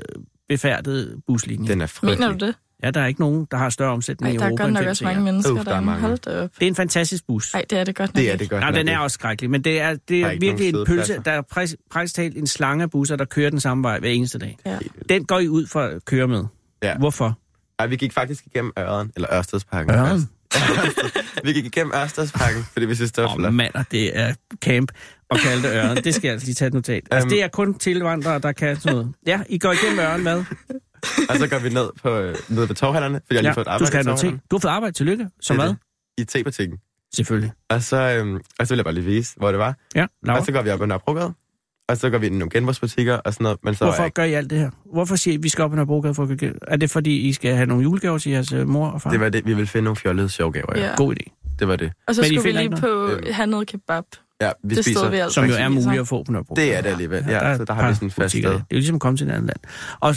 S4: befærdede buslinje. Den.
S8: Den er frygtelig.
S7: Mener du det?
S4: Ja, der er ikke nogen, der har større omsætning
S7: Ej,
S4: i
S7: der er
S4: Europa
S7: godt
S4: end
S7: nok
S4: 5C'er.
S7: også mange mennesker,
S8: Uff,
S7: der,
S8: der er
S7: er
S8: mange.
S7: Hold da op.
S4: Det er en fantastisk bus.
S7: Ej, det er det godt nok
S8: Det er
S7: ikke.
S8: det godt.
S4: Nej,
S8: nok
S4: den er
S8: ikke.
S4: også skrækkelig, men det er, det
S8: Der
S4: er,
S8: er
S4: er
S8: ikke
S4: virkelig
S8: nogen
S4: en pølse,
S8: siddepladser.
S4: der er præs- praktisk talt en slange af busser, der kører den samme vej hver eneste dag.
S7: Ja.
S4: Den går I ud for at køre med.
S8: Ja.
S4: Hvorfor?
S8: Ej, vi gik faktisk igennem Øren. Eller Ørstedsparken.
S4: Øren?
S8: faktisk. vi gik igennem Ørstedsparken, fordi vi synes, det var
S4: Åh,
S8: flot.
S4: oh, mand, og det er camp. og kalde det ørn. Det skal jeg altså lige tage et notat. Altså,
S8: Øhm.
S4: det er kun tilvandrere, der kan sådan noget. Ja, I går igennem ørn, hvad?
S8: Og så går vi ned, på, øh, ned ved torvhandlerne, fordi jeg lige har fået et
S4: du
S8: arbejde
S4: skal have
S8: i
S4: noget te.
S8: torvhandlerne.
S4: Du har fået arbejde, tillykke. Som
S8: Det er
S4: hvad?
S8: det. I tebutikken.
S4: Selvfølgelig.
S8: Og så, øhm, og så ville jeg bare lige vise, hvor det var.
S4: Ja, Laura.
S8: Og så går vi op ad Nørrebrogade. Og så går vi ind i nogle genbrugsbutikker og sådan noget. Men så er
S4: Hvorfor
S8: jeg ikke-
S4: gør I alt det her? Hvorfor siger I, at vi skal op i Nørrebrogade for at gøre Er det, fordi I skal have nogle julegaver til jeres øh, mor og far?
S8: det var det, vi ville finde nogle fjollede sjovgaver. Ja.
S7: Ja.
S4: God idé.
S8: Det var det.
S7: Og så
S4: Men I
S7: skulle vi
S4: finder
S7: lige
S4: ikke
S7: på
S8: Øhm.
S7: have noget kebab.
S8: Ja, vi
S7: Det
S8: spiser.
S7: stod vi altså.
S4: Som jo er
S7: Faktisk.
S4: muligt at få på Nørrebrogade.
S8: Det er det alligevel. Ja, så der har
S4: et
S8: vi
S4: par
S8: sådan et fast
S4: butikker der.
S8: sted.
S4: Det er jo ligesom at komme til et andet land. Og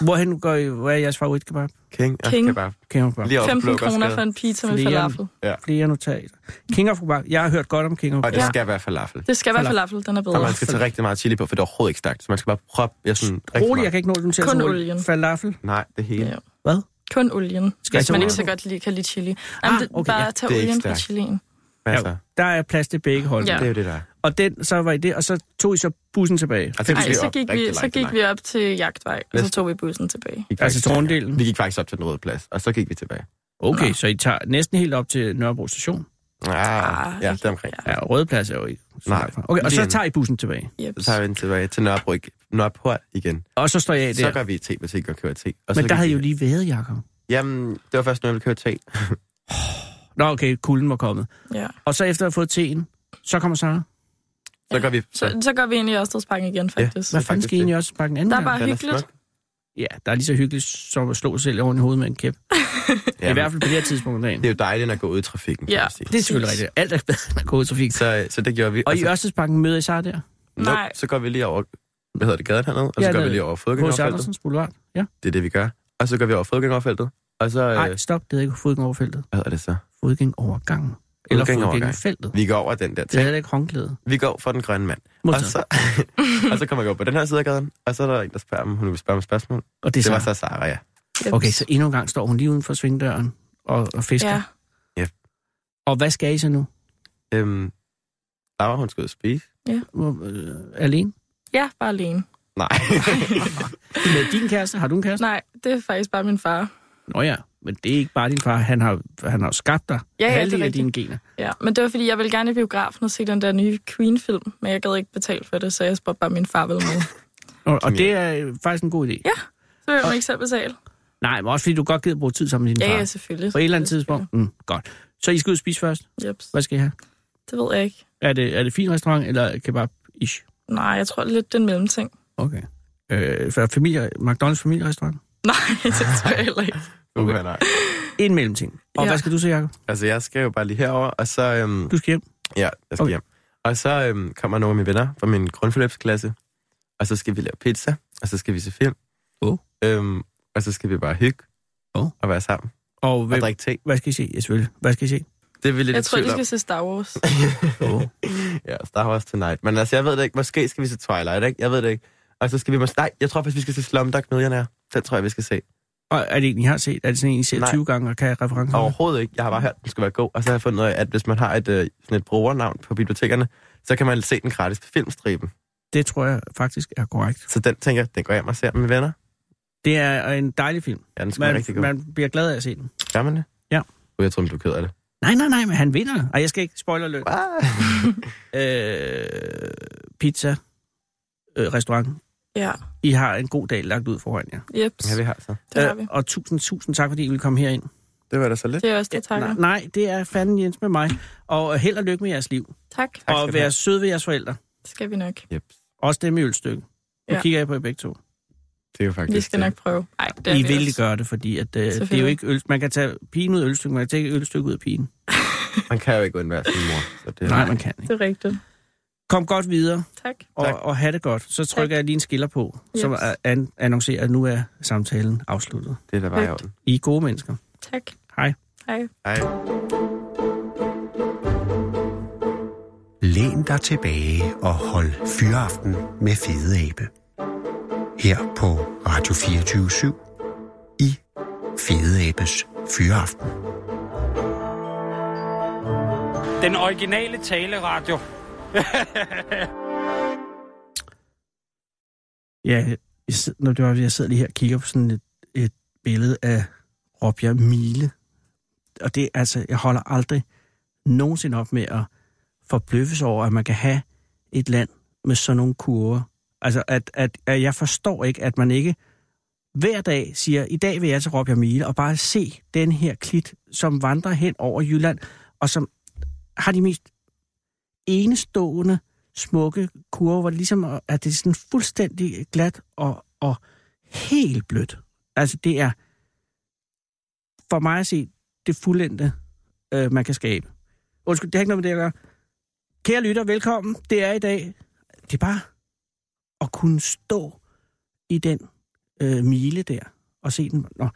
S4: hvorhen går I, hvor er jeres favoritkebab?
S8: King og
S7: King.
S8: kebab.
S4: King of kebab.
S8: Lige over for
S7: 15
S8: Blågårdsgade.
S7: kroner for en pizza med
S4: Flere.
S7: falafel.
S4: Flere notater. King of kebab. Jeg har hørt godt om King of
S8: Og det
S4: kebab.
S7: Ja.
S8: skal være falafel.
S7: Det skal være
S4: Falafel.
S7: falafel, den er
S8: Og
S7: bedre.
S8: man skal tage rigtig meget chili på, for det er overhovedet ikke stærkt. Så man skal bare proppe jeg sådan, rigtig
S4: Rolig, jeg
S8: meget.
S4: kan ikke nå den til
S7: Kun
S4: så
S7: olien.
S4: hurtigt. Falafel.
S8: Nej, det hele.
S7: Ja.
S4: Hvad?
S7: Kun olien.
S4: Skal jeg
S7: Hvis
S4: tage
S7: Altså, man
S4: olien
S7: ikke så
S4: på?
S7: godt lige kan lide chili. Jamen,
S4: Ah,
S7: det,
S4: okay,
S7: bare
S4: ja.
S7: tag
S8: Det er ikke
S7: olien fra
S8: stærkt.
S7: chilien.
S8: Hvad så?
S4: Ja, der er plads til begge hold.
S7: Ja.
S8: Det er jo det, der er.
S4: Og den, så var I det, og så tog I så bussen tilbage.
S8: Og så
S7: Ej,
S8: vi
S7: så
S8: op
S7: gik,
S8: rigtig
S7: vi, så
S8: langt
S7: gik
S8: tilbage.
S7: vi op til Jagtvej, og så
S8: Næste.
S7: tog vi bussen tilbage.
S8: Gik
S4: Altså
S8: faktisk-
S4: Torndelen.
S8: Vi gik faktisk op til den røde plads, og så gik vi tilbage.
S4: Okay, så I tager næsten helt op til Nørrebro station.
S8: Ah, ja,
S7: ikke-
S8: det er omkring.
S4: Ja, og Røde Plads er jo ikke så
S8: Nej.
S4: langt fra. Okay, og
S8: Lige
S4: så
S8: en-
S4: tager I bussen tilbage.
S7: Yep.
S8: Så tager vi den tilbage til Nørrebro, Nørreport igen.
S4: Og så står jeg af
S8: Så
S4: der.
S8: går vi i tebutik og køber te. Og så
S4: Men der
S8: gik
S4: havde I
S8: vi-
S4: jo lige været, Jacob.
S8: Jamen, det var først, når jeg ville køre te.
S4: Nå, okay, kulden var kommet.
S7: Ja.
S4: Og så efter at have fået teen, så kommer Sara.
S8: Så går vi...
S7: Så, så går vi ind i Ørstedsparken igen, faktisk.
S4: Hvad
S8: Ja.
S7: Ja.
S8: er
S4: fanden
S8: faktisk
S4: skal I egentlig også bakke en anden
S7: Der er
S4: gang?
S7: bare
S8: Den er
S7: hyggeligt.
S8: smuk.
S4: Ja, der er lige så hyggeligt som at slå sig selv oven i hovedet med en kæp.
S8: Jamen,
S4: I hvert fald på det her tidspunkt af dagen.
S8: Det er jo dejligt at gå ud i trafikken, kan
S7: Ja.
S8: man sige.
S4: Det er selvfølgelig rigtigt. Alt er bedre end at gå ud i trafik.
S8: Så, altså- så det gjorde vi.
S4: Og i
S8: så,
S4: Ørstedsbanken møder I Sara der?
S7: Nej.
S8: så går vi lige over, hvad hedder det, gaden hernede, og
S4: Ja,
S8: så går vi
S4: ned-
S8: lige over
S4: Hos
S8: fodgængerfeltet.
S4: Andersens Boulevard? Ja.
S8: Det er det, vi gør. Og så går vi over fodgængerfeltet. Og så, øh,
S4: Nej, stop. Det hedder ikke fodgængoverfeltet.
S8: hvad hedder det så?
S4: Fodgængovergangen. Eller
S8: Fodgængerovergang.
S4: fodgængefeltet.
S8: Vi går over den der
S4: Det
S8: ting.
S4: hedder ikke håndklæde.
S8: Vi går for den grønne mand. Og
S4: Modtaget.
S8: så, og så kommer vi over på den her side af gaden, og så er der en, der spørger, om hun vil spørge om et spørgsmål.
S4: Og det er
S8: Det var
S4: Sara.
S8: så Sara, ja.
S4: Okay, så endnu en gang står hun lige uden for svingdøren og, og fisker.
S7: Ja.
S4: Og hvad skal I så nu?
S8: Øhm, Laura, hun skal ud og spise.
S4: Hvor- øh, Alene?
S7: ja, bare alene.
S8: Nej.
S4: Med din kæreste? Har du en kæreste?
S7: Nej, det er faktisk bare min far.
S4: Nå ja, men det er ikke bare din far. Han har, han har jo skabt dig.
S7: Ja, ja, det er
S4: Halvdelen af
S7: rigtigt.
S4: dine gener.
S7: Ja, men det var, fordi jeg ville gerne i biografen og se den der nye Queen-film, men jeg gad ikke betale for det, så jeg spurgte bare min far vel med.
S4: Og, og det er øh, faktisk en god idé.
S7: Ja. Så vil man ikke selv betale.
S4: Nej, men også fordi du godt gider bruge tid sammen med din
S7: Ja,
S4: far.
S7: ja, selvfølgelig.
S4: På et eller andet tidspunkt. Mm, godt. Så I skal ud og spise først.
S7: Jeps.
S4: Hvad skal I have?
S7: Det ved jeg ikke.
S4: Er det, er det fin restaurant eller kebab-ish?
S7: Nej, jeg tror lidt, det er en mellemting.
S4: Okay. Øh, for familie, McDonald's familierestaurant?
S7: Nej, det tror jeg heller ikke.
S8: okay. nej.
S4: En mellemting. Og
S7: Ja.
S4: ja. hvad skal du så, Jacob?
S8: Altså, jeg skal jo bare lige herover, og så... Øhm,
S4: Du skal hjem.
S8: ja, jeg
S4: Okay.
S8: skal okay. hjem. Og så øhm, kommer nogle af mine venner fra min grundforløbsklasse, og så skal vi lave pizza, og så skal vi se film.
S4: Åh.
S8: Øhm, og så skal vi bare hygge
S4: Åh.
S8: og være sammen
S4: Og
S8: og
S4: hvem,
S8: drikke te.
S4: hvad skal I se? Ja, selvfølgelig. Hvad skal I se?
S8: Det er vi lidt
S7: Jeg
S8: i
S7: tror,
S8: tvivl
S7: vi
S8: om.
S7: skal se Star Wars.
S4: Åh.
S8: Ja, Star Wars Tonight. Men altså, jeg ved det ikke. Måske skal vi se Twilight, ikke? Jeg ved det ikke. Og så skal vi måske... Nej, jeg tror faktisk, vi skal se Slumdog Millionaire. Den tror jeg, vi skal se.
S4: Og er det en, I har set? Er det sådan en, I ser
S8: Nej.
S4: 20 gange og kan referencer?
S8: Mm. Overhovedet ikke. Jeg har bare hørt, den skulle være god. Og så har jeg fundet ud af, at hvis man har et, øh, sådan et brugernavn på bibliotekerne, så kan man se den gratis på filmstriben.
S4: Det tror jeg faktisk er korrekt.
S8: Så den tænker jeg, den går jeg hjem og ser med mine venner.
S4: Det er en dejlig film.
S8: Ja, den skulle være
S4: Man,
S8: rigtig god. Man...
S4: man bliver glad af at se den.
S8: Gør man det?
S4: Ja.
S8: Uh, jeg tror, du er ked af det.
S4: Nej, nej, nej, men han vinder. Og jeg skal ikke spoiler løn.
S8: Ah.
S4: Øh, pizza, øh, restaurant.
S7: Ja,
S4: I har en god dag lagt ud foran jer.
S7: jeps.
S8: Ja, vi har så.
S7: Det har
S4: Øh,
S7: vi.
S4: og tusind, tusind tak, fordi I ville komme herind.
S8: Det var da så lidt.
S7: Det er også det,
S4: Nej,
S7: takker.
S4: nej, det er fanden Jens med mig. Og øh, held og lykke med jeres liv.
S7: Tak.
S8: Tak skal
S4: og
S8: du
S4: vær
S8: have.
S4: søde ved jeres forældre.
S7: Skal vi nok.
S8: Yep.
S4: Også dem i ølstykket. Nu
S7: Ja.
S4: kigger jeg på jer begge to.
S8: Det er jo faktisk
S7: Vi skal
S8: det.
S7: nok prøve. Ej, det er
S4: I
S7: vi
S4: vil
S7: også.
S4: gøre det, fordi at, øh, det er jo
S7: Selvfølgelig.
S4: ikke øl. Man kan tage pigen ud af ølstykket, man kan tage ølstykket ud af pigen.
S8: Man kan jo ikke undvære sin mor. Så det...
S4: Nej, man kan ikke.
S7: Det er rigtigt.
S4: Kom godt videre.
S7: Tak.
S4: og,
S8: Tak.
S4: og have det godt. Så trykker
S7: Tak.
S4: jeg lige en skiller på,
S7: Yes.
S4: som er- an- annoncerer, at nu er samtalen afsluttet.
S8: Det er da bare i orden.
S4: I er gode mennesker.
S7: Tak.
S4: Hej.
S7: Hej.
S8: Hej.
S3: Læn dig tilbage og hold fyraften med Fede Abe. Her på Radio 24 i Fede Abes Fyraften.
S2: Den originale taleradio.
S4: Ja, jeg, sid- når det var, jeg sidder lige her og kigger på sådan et, et billede af Robja Mile. Og det er altså, jeg holder aldrig nogensinde op med at forbløffes over, at man kan have et land med sådan nogle kurver. Altså, at, at, at jeg forstår ikke, at man ikke hver dag siger, i dag vil jeg til Råbjerg Mile, og bare se den her klit, som vandrer hen over Jylland, og som har de mest enestående, smukke kurver, hvor det ligesom er- at det er sådan fuldstændig glat og, og helt blødt. Altså, det er for mig at se det fuldendte, øh, man kan skabe. Undskyld, det har ikke noget med det at gøre. Kære lytter, velkommen. Det er i dag. Det er bare at kunne stå i den øh, mile der og se den. Nå.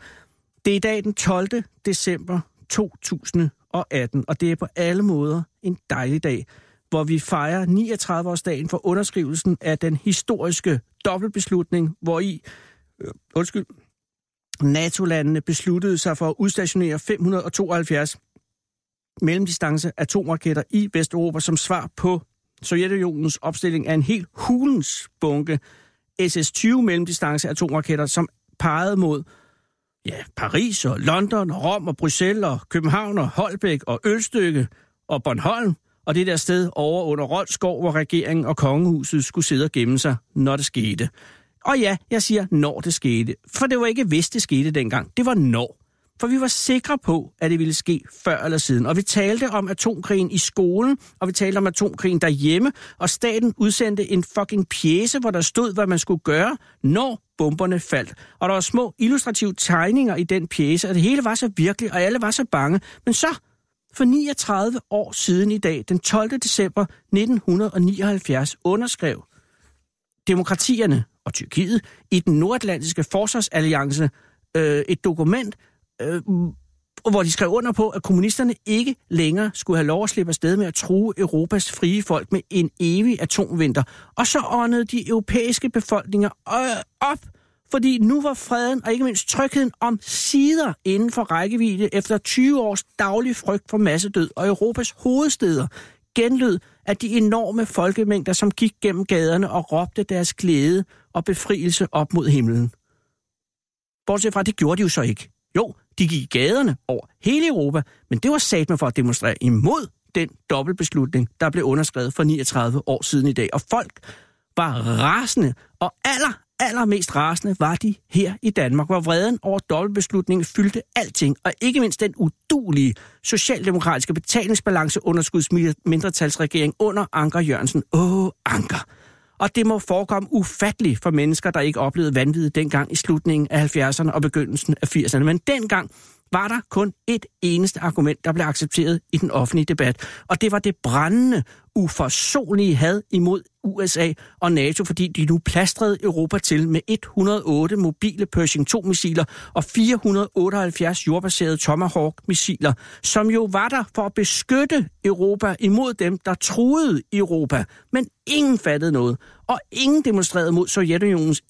S4: Det er i dag den 12. december 2018, og det er på alle måder en dejlig dag, hvor vi fejrer 39-årsdagen for underskrivelsen af den historiske dobbeltbeslutning, hvor i øh, undskyld, NATO-landene besluttede sig for at udstationere 572 mellemdistance atomraketter i Vesteuropa som svar på Sovjetunionens opstilling af en helt hulens bunke SS-20 mellemdistance atomraketter, som pegede mod ja, Paris og London og Rom og Bruxelles og København og Holbæk og Ølstykke og Bornholm og det der sted over under Rolskov, hvor regeringen og kongehuset skulle sidde og gemme sig, når det skete. Og ja, jeg siger, når det skete. For det var ikke hvis det skete dengang, det var når. For vi var sikre på, at det ville ske før eller siden. Og vi talte om atomkrigen i skolen, og vi talte om atomkrigen derhjemme, og staten udsendte en fucking pjæse, hvor der stod, hvad man skulle gøre, når bomberne faldt. Og der var små illustrative tegninger i den pjæse, og det hele var så virkelig, og alle var så bange. Men så, for 39 år siden i dag, den 12. december 1979, underskrev demokratierne og Tyrkiet i den nordatlantiske forsvarsalliance øh, et dokument, øh, hvor de skrev under på, at kommunisterne ikke længere skulle have lov at slippe afsted med at true Europas frie folk med en evig atomvinter. Og så åndede de europæiske befolkninger øh, op, fordi nu var freden og ikke mindst trygheden om sider inden for rækkevidde efter 20 års daglig frygt for massedød og Europas hovedsteder genlød af de enorme folkemængder, som gik gennem gaderne og råbte deres glæde og befrielse op mod himlen. Bortset fra, at det gjorde de jo så ikke. Jo, de gik i gaderne over hele Europa, men det var sat med for at demonstrere imod den dobbeltbeslutning, der blev underskrevet for 39 år siden i dag. Og folk var rasende, og aller, allermest rasende var de her i Danmark, hvor vreden over dobbeltbeslutningen fyldte alting, og ikke mindst den udulige socialdemokratiske betalingsbalanceunderskudsmindretalsregering under Anker Jørgensen. Åh, Anker! Og det må forekomme ufatteligt for mennesker, der ikke oplevede vanvittigt dengang i slutningen af 70'erne og begyndelsen af 80'erne. Men dengang var der kun et eneste argument, der blev accepteret i den offentlige debat. Og det var det brændende, uforsonlige had imod USA og NATO, fordi de nu plastrede Europa til med 108 mobile Pershing 2-missiler og 478 jordbaserede Tomahawk-missiler, som jo var der for at beskytte Europa imod dem, der truede Europa. Men ingen fattede noget, og ingen demonstrerede mod Sovjetunionens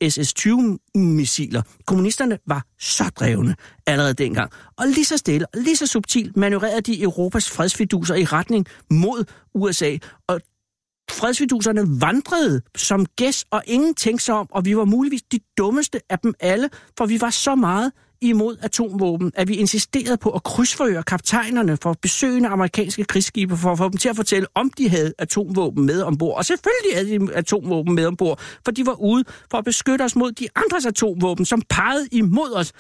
S4: SS-20-missiler. Kommunisterne var så drevne allerede dengang. Og lige så stille og lige så subtilt manøvrerede de Europas fredsfiduser i retning mod USA, og fredsviduserne vandrede som gæst, og ingen tænkte sig om, og vi var muligvis de dummeste af dem alle, for vi var så meget imod atomvåben, at vi insisterede på at krydsforhøre kaptajnerne for besøgende amerikanske krigsskibe, for at få dem til at fortælle, om de havde atomvåben med ombord. Og selvfølgelig havde de atomvåben med ombord, for de var ude for at beskytte os mod de andres atomvåben, som pegede imod os.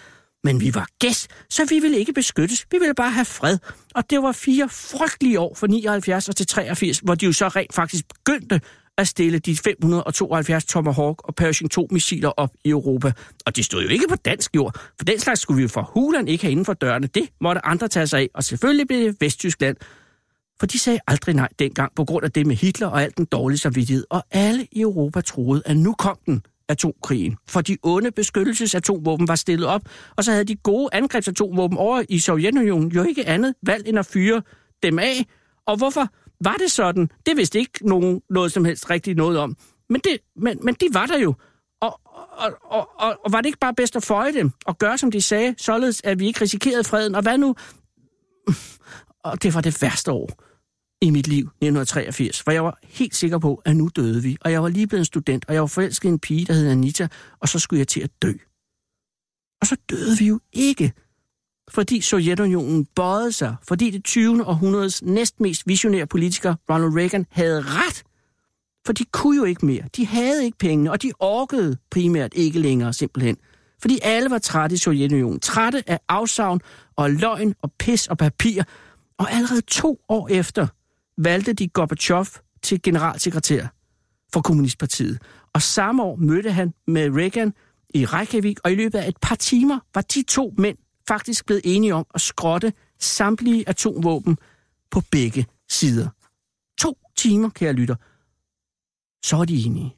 S4: Men vi var gæst, så vi ville ikke beskyttes. Vi ville bare have fred. Og det var fire frygtelige år fra 79 og til 83, hvor de jo så rent faktisk begyndte at stille de 572 Tomahawk og Pershing 2 missiler op i Europa. Og de stod jo ikke på dansk jord, for den slags skulle vi jo for hulen ikke have inden for dørene. Det måtte andre tage sig af, og selvfølgelig blev det Vesttyskland, for de sagde aldrig nej dengang på grund af det med Hitler og alt den dårlige samvittighed. Og alle i Europa troede, at nu kom den atomkrigen. For de onde beskyttelsesatomvåben var stillet op, og så havde de gode angrebsatomvåben over i Sovjetunionen jo ikke andet valg end at fyre dem af. Og hvorfor var det sådan? Det vidste ikke nogen noget som helst rigtigt noget om. Men, det, men, men de var der jo. Og, og, og, og, og var det ikke bare bedst at føje dem og gøre, som de sagde, således at vi ikke risikerede freden? Og hvad nu? Og det var det værste år i mit liv, 1983, for jeg var helt sikker på, at nu døde vi, og jeg var lige blevet en student, og jeg var forelsket i en pige, der hed Anita, og så skulle jeg til at dø. Og så døde vi jo ikke, fordi Sovjetunionen bøjede sig, fordi det 20. århundredes næstmest visionære politiker, Ronald Reagan, havde ret. For de kunne jo ikke mere. De havde ikke pengene, og de orkede primært ikke længere simpelthen. Fordi alle var trætte i Sovjetunionen. Trætte af afsavn og løgn og pis og papir. Og allerede to år efter valgte de Gorbachev til generalsekretær for Kommunistpartiet. Og samme år mødte han med Reagan i Reykjavik, og i løbet af et par timer var de to mænd faktisk blevet enige om at skrotte samtlige atomvåben på begge sider. To timer, kære lytter. Så er de enige.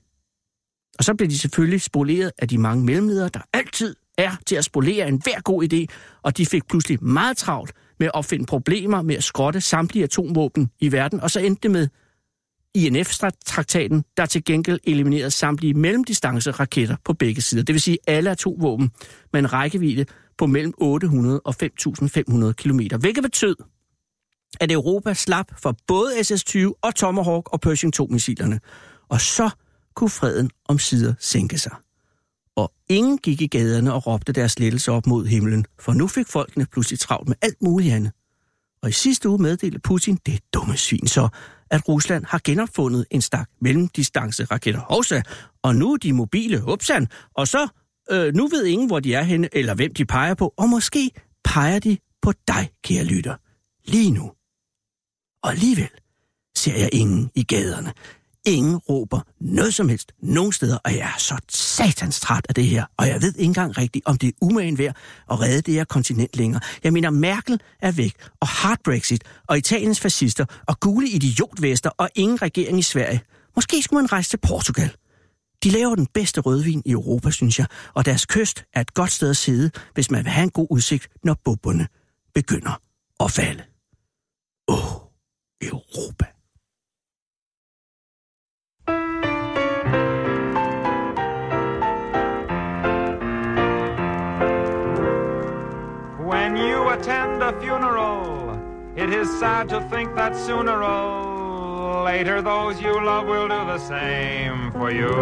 S4: Og så bliver de selvfølgelig spoleret af de mange mellemledere, der altid er til at spolere en hver god idé, og de fik pludselig meget travlt med at opfinde problemer med at skrotte samtlige atomvåben i verden, og så endte det med INF-traktaten, der til gengæld eliminerede samtlige mellemdistanceraketter på begge sider. Det vil sige alle atomvåben med en rækkevidde på mellem 800 og 5.500 km. Hvilket betød, at Europa slap for både SS-20 og Tomahawk og Pershing 2-missilerne. Og så kunne freden om sider sænke sig. Og ingen gik i gaderne og råbte deres lettelse op mod himlen, for nu fik folkene pludselig travlt med alt muligt andet. Og i sidste uge meddelte Putin, det dumme svin så, at Rusland har genopfundet en stak mellemdistanceraketter. Hovsa, og nu er de mobile, upsan, og så, øh, nu ved ingen, hvor de er henne, eller hvem de peger på, og måske peger de på dig, kære lytter, lige nu. Og alligevel ser jeg ingen i gaderne. Ingen råber noget som helst nogen steder, og jeg er så satans træt af det her. Og jeg ved ikke engang rigtigt, om det er umagen værd at redde det her kontinent længere. Jeg mener, Merkel er væk, og hard Brexit, og Italiens fascister, og gule idiotvester, og ingen regering i Sverige. Måske skulle man rejse til Portugal. De laver den bedste rødvin i Europa, synes jeg, og deres kyst er et godt sted at sidde, hvis man vil have en god udsigt, når bobberne begynder at falde. Åh, oh, Europa.
S9: When you attend a funeral, it is sad to think that sooner or later those you love will do the same for you.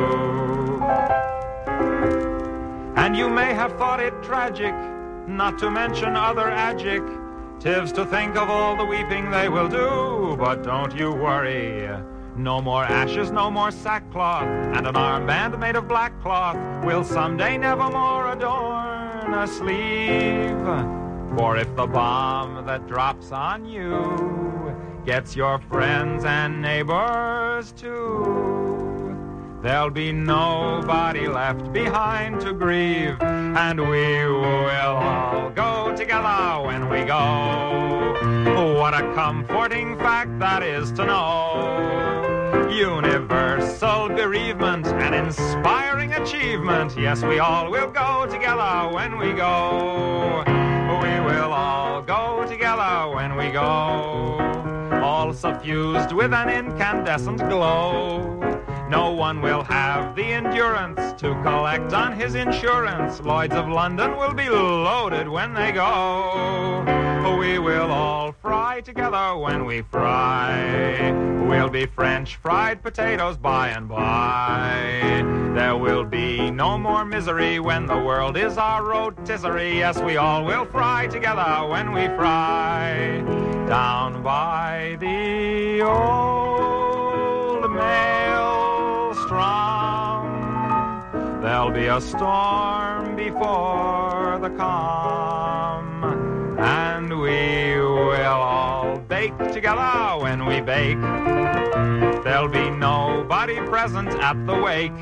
S9: And you may have thought it tragic, not to mention other adjectives, to think of all the weeping they will do. But don't you worry. No more ashes, no more sackcloth, and an armband made of black cloth will someday nevermore adorn a sleeve. For if the bomb that drops on you gets your friends and neighbors too, there'll be nobody left behind to grieve, and we will all go together when we go. What a comforting fact that is to know universal bereavement, an inspiring achievement. Yes, we all will go together when we go. We will all go together when we go. All suffused with an incandescent glow. No one will have the endurance to collect on his insurance. Lloyds of London will be loaded when they go. We will all fry together when we fry. We'll be French fried potatoes by and by. There will be no more misery when the world is our rotisserie. Yes, we all will fry together when we fry. Down by the old mail strong. There'll be a storm before the calm, and we will all bake together when we bake. There'll be nobody present at the wake.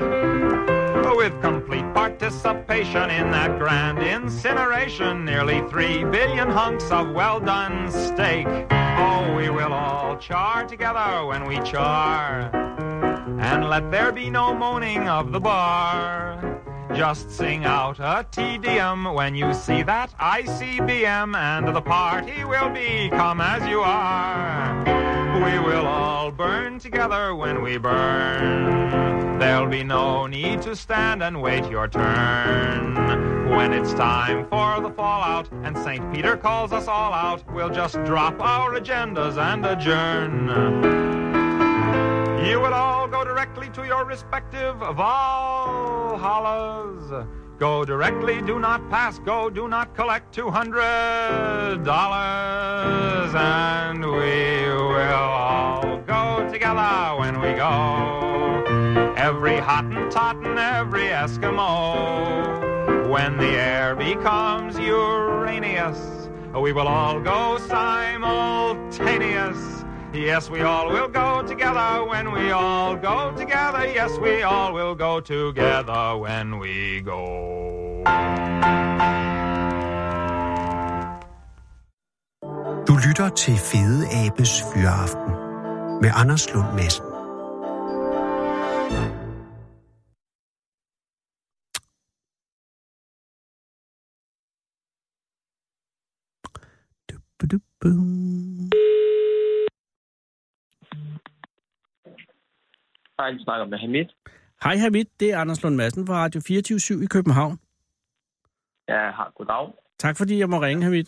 S9: With complete participation in that grand incineration, nearly three billion hunks of well done steak. Oh, we will all char together when we char and let there be no moaning of the bar. Just sing out a Te Deum when you see that ICBM, and the party will be come as you are. We will all burn together when we burn. There'll be no need to stand and wait your turn. When it's time for the fallout and St. Peter calls us all out, we'll just drop our agendas and adjourn. You will all go directly to your respective Valhallas. Go directly, do not pass, go, do not collect $200. And we will all go together when we go.
S10: every Hottentot and every Eskimo. When the air becomes Uranus, we will all go simultaneous. Yes, we all will go together when we all go together. Yes, we all will go together when we go.
S3: Du lytter til Fede Abes Fyraften med Anders Lund Madsen.
S4: Ba-du-bum.
S9: Hej, du snakker med Hamid.
S4: Hej Hamid, det er Anders Lund Madsen fra Radio 24 i København.
S9: Ja, har goddag.
S4: Tak fordi jeg må ringe, Hamid.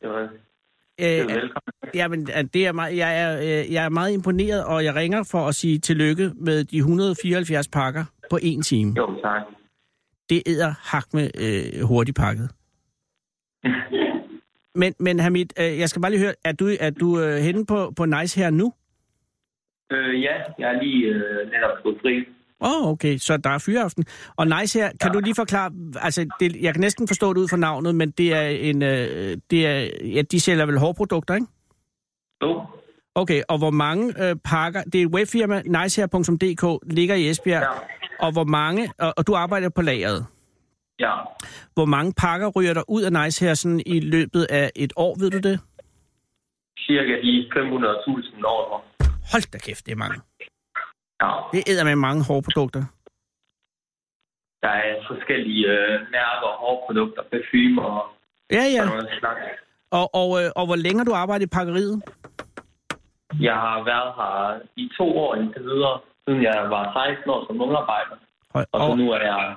S9: Det var, det var
S4: Øh,
S9: velkommen.
S4: jamen, det er meget, jeg, er, øh, jeg er meget imponeret, og jeg ringer for at sige tillykke med de 174 pakker på en time.
S9: Jo, tak.
S4: Det æder hak med øh, hurtigt pakket. Men, men Hamid, øh, jeg skal bare lige høre, er du, er du øh, henne på, på Nice her nu?
S9: Øh, ja, jeg er lige øh, netop gået fri.
S4: Åh, oh, okay, så der er fyraften. Og Nice her, kan du lige forklare, altså det, jeg kan næsten forstå det ud fra navnet, men det er en, øh, det er, ja, de sælger vel hårprodukter, ikke?
S9: Jo,
S4: Okay, og hvor mange øh, pakker, det er et webfirma, nicehair.dk, ligger i Esbjerg, ja. og hvor mange, og, og du arbejder på lageret,
S9: ja.
S4: hvor mange pakker ryger der ud af Nicehair sådan i løbet af et år, ved du det?
S9: Cirka de 500.000 år.
S4: Hold da kæft, det er mange.
S9: Ja,
S4: Det æder med mange hårprodukter.
S9: der er forskellige øh, mærker, hårprodukter, parfumer og
S4: Ja, ja,
S9: sådan noget slags.
S4: og, og, øh, og hvor længe har du arbejdet i pakkeriet?
S9: Jeg har været her i to år indtil videre, siden jeg var 16 år som ungarbejder.
S4: Og,
S9: Og så
S4: og,
S9: nu er jeg,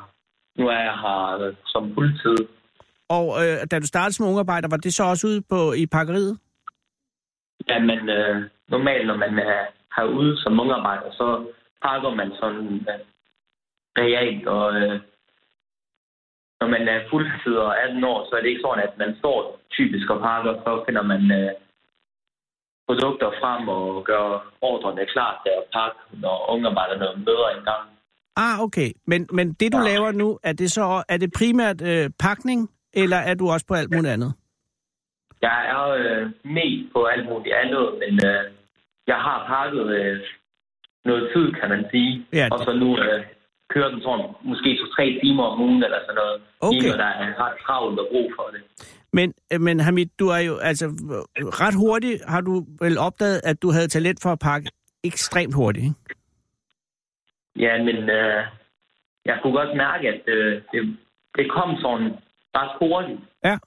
S9: nu er jeg her øh, som fuldtid.
S4: og øh, da du startede som ungarbejder, var det så også ude på, i pakkeriet?
S9: Ja, men øh, normalt, når man øh, er herude som ungarbejder, så pakker man sådan øh, realt, og øh, når man er fuldtid og 18 år, så er det ikke sådan, at man står typisk og pakker, så finder man øh, produkter frem og gør ordrene klar til at pakke, når ungarbejderne møder en gang.
S4: Ah, okay. Men, men det, du
S9: Ja.
S4: laver nu, er det så er det primært øh, pakning, eller er du også på alt muligt andet?
S9: Jeg er øh, med på alt muligt andet, men øh, jeg har pakket øh, noget tid, kan man sige.
S4: Ja,
S9: og
S4: det-
S9: så nu øh, kører den sådan måske to-tre timer om ugen eller sådan noget.
S4: Okay.
S9: Lige når der er ret travlt og brug for det.
S4: Men, øh, men Hamid, du er jo altså øh, ret hurtigt, har du vel opdaget, at du havde talent for at pakke ekstremt hurtigt, ikke?
S9: Ja, men øh, jeg kunne godt mærke, at øh, det, det kom sådan ret hurtigt,
S4: Ja.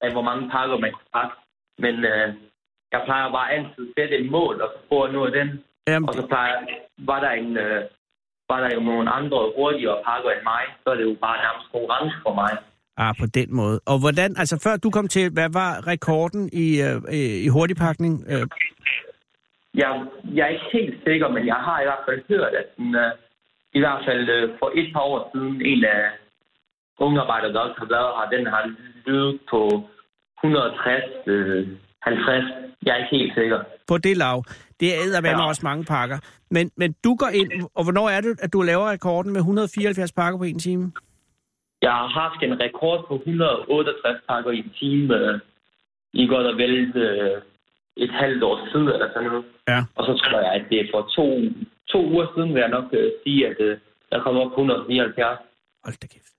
S9: af hvor mange pakker man kunne pakke. Men øh, jeg plejer bare altid at sætte et mål, og så prøve at nå den.
S4: Jamen,
S9: Og så plejer, var der en... Øh, var der jo nogle andre hurtigere pakker end mig, så er det jo bare nærmest konkurrence for mig.
S4: ah, på den måde. Og hvordan, altså før du kom til, hvad var rekorden i, øh, øh, i hurtigpakning? Øh,
S9: Jeg, jeg er ikke helt sikker, men jeg har i hvert fald hørt, at den, øh, i hvert fald øh, for et par år siden, en af ungarbejdere, der også har været her, den har lydet på 160, øh, 50. Jeg er ikke helt sikker.
S4: på det lav. Det er eddermame
S9: Ja.
S4: også mange pakker. Men, men du går ind, og hvornår er det, at du laver rekorden med 174 pakker på en time?
S9: Jeg har haft en rekord på 168 pakker i en time øh, i godt og vel øh, et halvt år siden eller sådan noget.
S4: Ja.
S9: Og så tror jeg, at det er for to, to uger siden, vil jeg nok øh, sige, at øh, jeg kommer op på 179.
S4: Hold da kæft.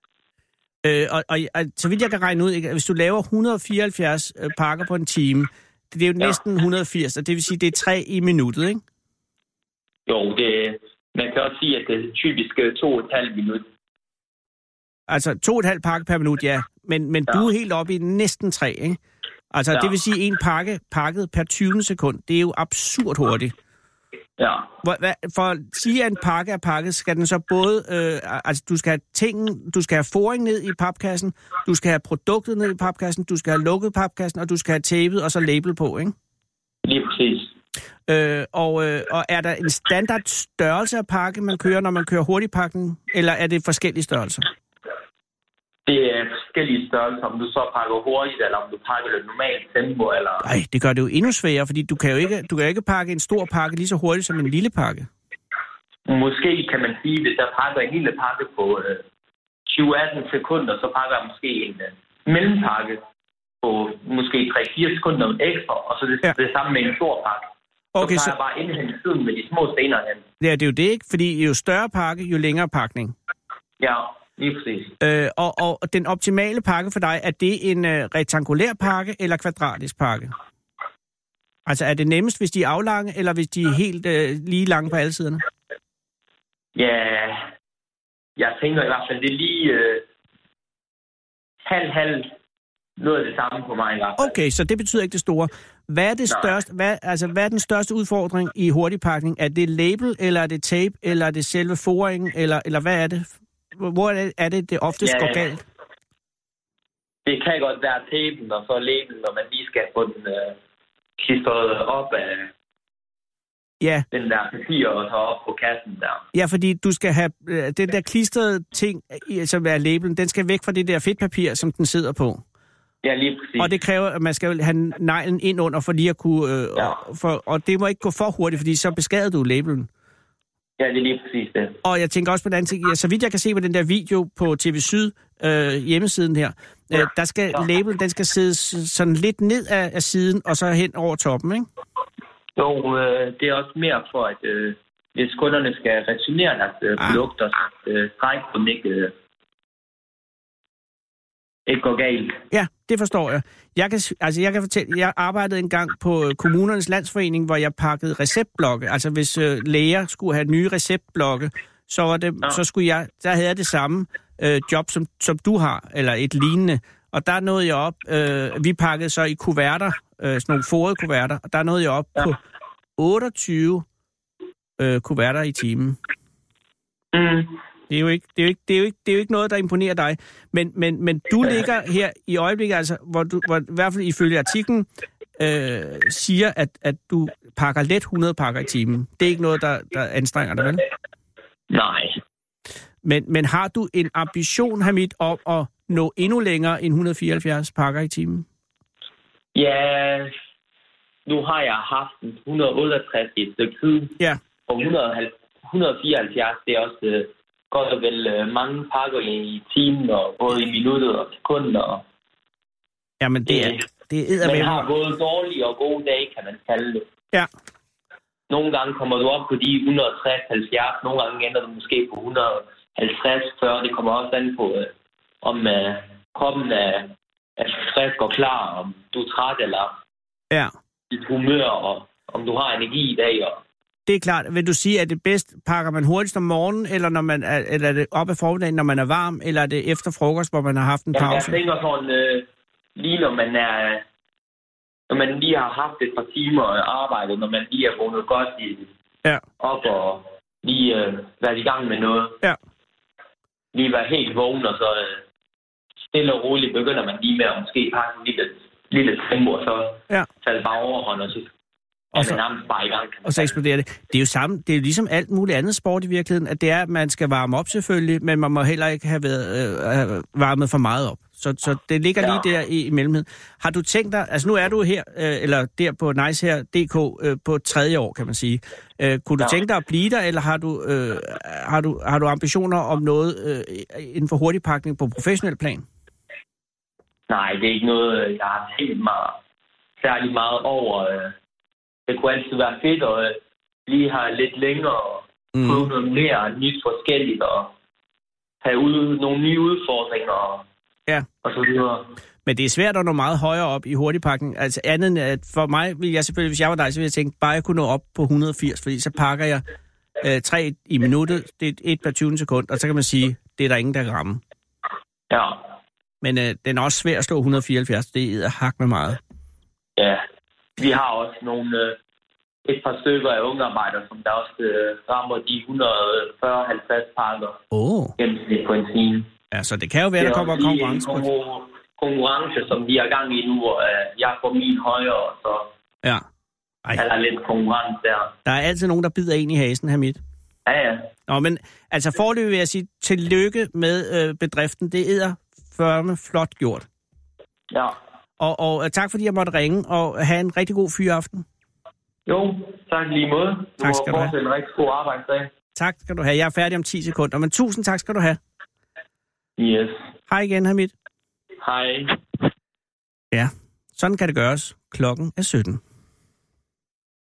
S4: Øh, og, og, og så vidt jeg kan regne ud, ikke, at hvis du laver 174 øh, pakker på en time, det, det er jo
S9: Ja.
S4: næsten 180, og det vil sige, det er tre i minuttet, ikke?
S9: Jo, det, man kan også sige, at det er typisk øh, to og et halvt minut.
S4: Altså to og et halvt pakke per minut, ja. Men, men ja.
S9: Ja.
S4: du er helt oppe i næsten tre, ikke? Altså, ja.
S9: Ja.
S4: det vil sige en pakke pakket per 20 sekund. Det er jo absurd hurtigt.
S9: Ja.
S4: Hvor, hvad, for at sige, at en pakke er pakket, skal den så både... Øh, altså, du skal have tingen, du skal have foring ned i papkassen, du skal have produktet ned i papkassen, du skal have lukket papkassen, og du skal have tapet og så label på, ikke?
S9: Lige præcis.
S4: Øh, og, øh, og er der en standard størrelse af pakke, man kører, når man kører hurtigpakken, eller er det forskellige størrelser?
S9: Det er forskellige størrelser, om du så pakker hurtigt, eller om du pakker det normalt tempo, eller...
S4: Ej, det gør det jo endnu sværere, fordi du kan jo ikke, du kan jo ikke pakke en stor pakke lige så hurtigt som en lille pakke.
S9: Måske kan man sige, hvis jeg pakker en lille pakke på øh, 20-18 sekunder, så pakker jeg måske en øh, mellempakke på måske 3-4 sekunder ekstra, og så det,
S4: Ja.
S9: ja. det samme med en stor pakke.
S4: Okay,
S9: så
S4: så,
S9: tager jeg bare indhente tiden med de små stener hen.
S4: ja, det er jo det, ikke? Fordi jo større pakke, jo længere pakning.
S9: Ja, lige præcis.
S4: Øh, og, og den optimale pakke for dig, er det en øh, rektangulær pakke eller kvadratisk pakke? Altså er det nemmest, hvis de er aflange, eller hvis de er helt øh, lige lange på alle siderne?
S9: Ja, jeg tænker i hvert fald, det er lige øh, halv-halv noget af det samme på mig i hvert fald.
S4: Okay, så det betyder ikke det store. Hvad er, det
S9: Nej.
S4: største, hvad, altså, hvad er den største udfordring i hurtigpakning? Er det label, eller er det tape, eller er det selve foringen, eller, eller hvad er det? Hvor er det, er det, det oftest
S9: Ja,
S4: går
S9: ja.
S4: galt?
S9: Det kan godt være tapen og så label, når man lige skal få den øh, klistret op af
S4: Ja,
S9: den der papir og så op på kassen der.
S4: ja fordi du skal have øh, den der klistrede ting, i- som er labelen, den skal væk fra det der fedtpapir, som den sidder på.
S9: Ja, lige præcis.
S4: Og det kræver, at man skal have neglen ind under, for lige at kunne... Øh,
S9: Ja.
S4: og- for, og det må ikke gå for hurtigt, fordi så beskader du labelen.
S9: Ja, det er lige præcis det.
S4: Og jeg tænker også på den anden ting. Ja, så vidt jeg kan se på den der video på TV Syd øh, hjemmesiden her, øh, der skal
S9: Ja.
S4: labelen, den skal sidde s- sådan lidt ned af, af siden, og så hen over toppen, ikke?
S9: Jo, øh, det er også mere for, at øh, hvis kunderne skal returnere deres øh,
S4: Ah.
S9: produkter, så at, øh, stregkoden ikke, øh, ikke går galt.
S4: Ja, det forstår jeg. Jeg kan, s- altså jeg kan fortælle, jeg arbejdede engang på øh, kommunernes landsforening, hvor jeg pakkede receptblokke. Altså hvis øh, læger skulle have nye receptblokke, så, var det,
S9: Ja.
S4: så skulle jeg, der havde jeg det samme øh, job, som, som du har, eller et lignende. Og der nåede jeg op, øh, vi pakkede så i kuverter, øh, sådan nogle forede kuverter, og der nåede jeg op ja.
S9: Ja.
S4: på 28 øh, kuverter i timen.
S9: Mm.
S4: Det er, jo ikke, det, er jo ikke, det, er jo ikke, det er jo ikke noget, der imponerer dig. Men, men, men du ligger her i øjeblikket, altså, hvor du hvor, i hvert fald ifølge artiklen øh, siger, at, at du pakker let 100 pakker i timen. Det er ikke noget, der, der anstrenger dig, vel?
S9: Nej.
S4: Men, men har du en ambition, Hamid, om at nå endnu længere end 174 pakker i timen?
S9: Ja, nu har jeg haft en 168 i et stykke tid,
S4: Ja,
S9: og 150 174, det er også øh, godt og vel øh, mange pakker i timen, og både i minutter og sekunder. Og,
S4: Jamen, det er,
S9: Øh,
S4: det er
S9: man
S4: med.
S9: har både dårlige og gode dage, kan man kalde det.
S4: Ja,
S9: Nogle gange kommer du op på de 160-70, nogle gange ender du måske på 150-40. Det kommer også an på, øh, om øh, kroppen er, er frisk og klar, om du er træt eller
S4: ja.
S9: dit humør, og om du har energi i dag. Og,
S4: Det er klart. Vil du sige, at det bedst pakker man hurtigst om morgenen, eller, når man er, eller er det op ad formiddagen, når man er varm, eller er det efter frokost, hvor man har haft en
S9: jeg, jeg
S4: pause?
S9: tænker sådan, øh, lige når man er når man lige har haft et par timer øh, arbejde, når man lige er vågnet godt i,
S4: Ja.
S9: op og lige øh, været i gang med noget.
S4: Ja.
S9: lige være helt vågen, og så øh, stille og roligt begynder man lige med at måske pakke en lille, lille tempo, og så
S4: Ja.
S9: falde bare overhånd, og så
S4: Og
S9: er
S4: så-
S9: man nærmest bare i gang. kan man
S4: Og så
S9: sige.
S4: eksploderer det. Det er jo samme, det er jo ligesom alt muligt andet sport i virkeligheden, at det er, at man skal varme op selvfølgelig, men man må heller ikke have været øh, have varmet for meget op. Så, så det ligger lige der i, i mellemheden. Har du tænkt dig, altså nu er du her, øh, eller der på Nice her, DK, øh, på tredje år, kan man sige. Øh, kunne du
S9: Ja.
S4: tænke dig at blive der, eller har du, øh, har du, har du ambitioner om noget øh, inden for hurtigpakning på professionel plan?
S9: Nej, det er ikke noget, øh, jeg har tænkt mig særlig meget over. øh. Det kunne altid være fedt at øh, lige have lidt længere og
S4: Mm.
S9: prøve noget mere nyt forskelligt og have ud, nogle nye udfordringer og,
S4: Ja.
S9: og så videre.
S4: Men det er svært at nå meget højere op i hurtigpakken. Altså andet end, at for mig vil jeg selvfølgelig, hvis jeg var dig, så ville jeg tænke, bare jeg kunne nå op på 180, fordi så pakker jeg øh, tre i minuttet, det er et per 20 sekund, og så kan man sige, det er der ingen, der kan ramme.
S9: Ja,
S4: Men øh, den er også svær at slå 174, det er hak med meget.
S9: Ja, vi har også nogle, øh, et par stykker af ungarbejdere, som der også øh, rammer de 140-50 pakker
S4: Åh, oh,
S9: gennemsnit på en time.
S4: ja, så det kan jo være, der
S9: Det er
S4: kommer
S9: også lige en
S4: konkurrence på.
S9: konkur- konkurrence, som vi er i gang i nu, hvor øh, jeg får min højere, og så
S4: Ja. Ej,
S9: er der lidt konkurrence der.
S4: der er altid nogen, der bider en i hasen, Hamid.
S9: Ja, ja.
S4: Nå, men altså forløbig vil jeg sige, tillykke med øh, bedriften, det er førme flot gjort.
S9: ja.
S4: Og, og øh, tak fordi jeg måtte ringe, og have en rigtig god fyraften.
S9: Jo, tak lige måde.
S4: Tak skal du have.
S9: fortsat en rigtig god arbejdsdag.
S4: Tak skal du have. Jeg er færdig om 10 sekunder, men tusind tak skal du have.
S9: Yes.
S4: Hej igen, Hamid.
S9: Hej.
S4: Ja, sådan kan det gøres. Klokken er 17.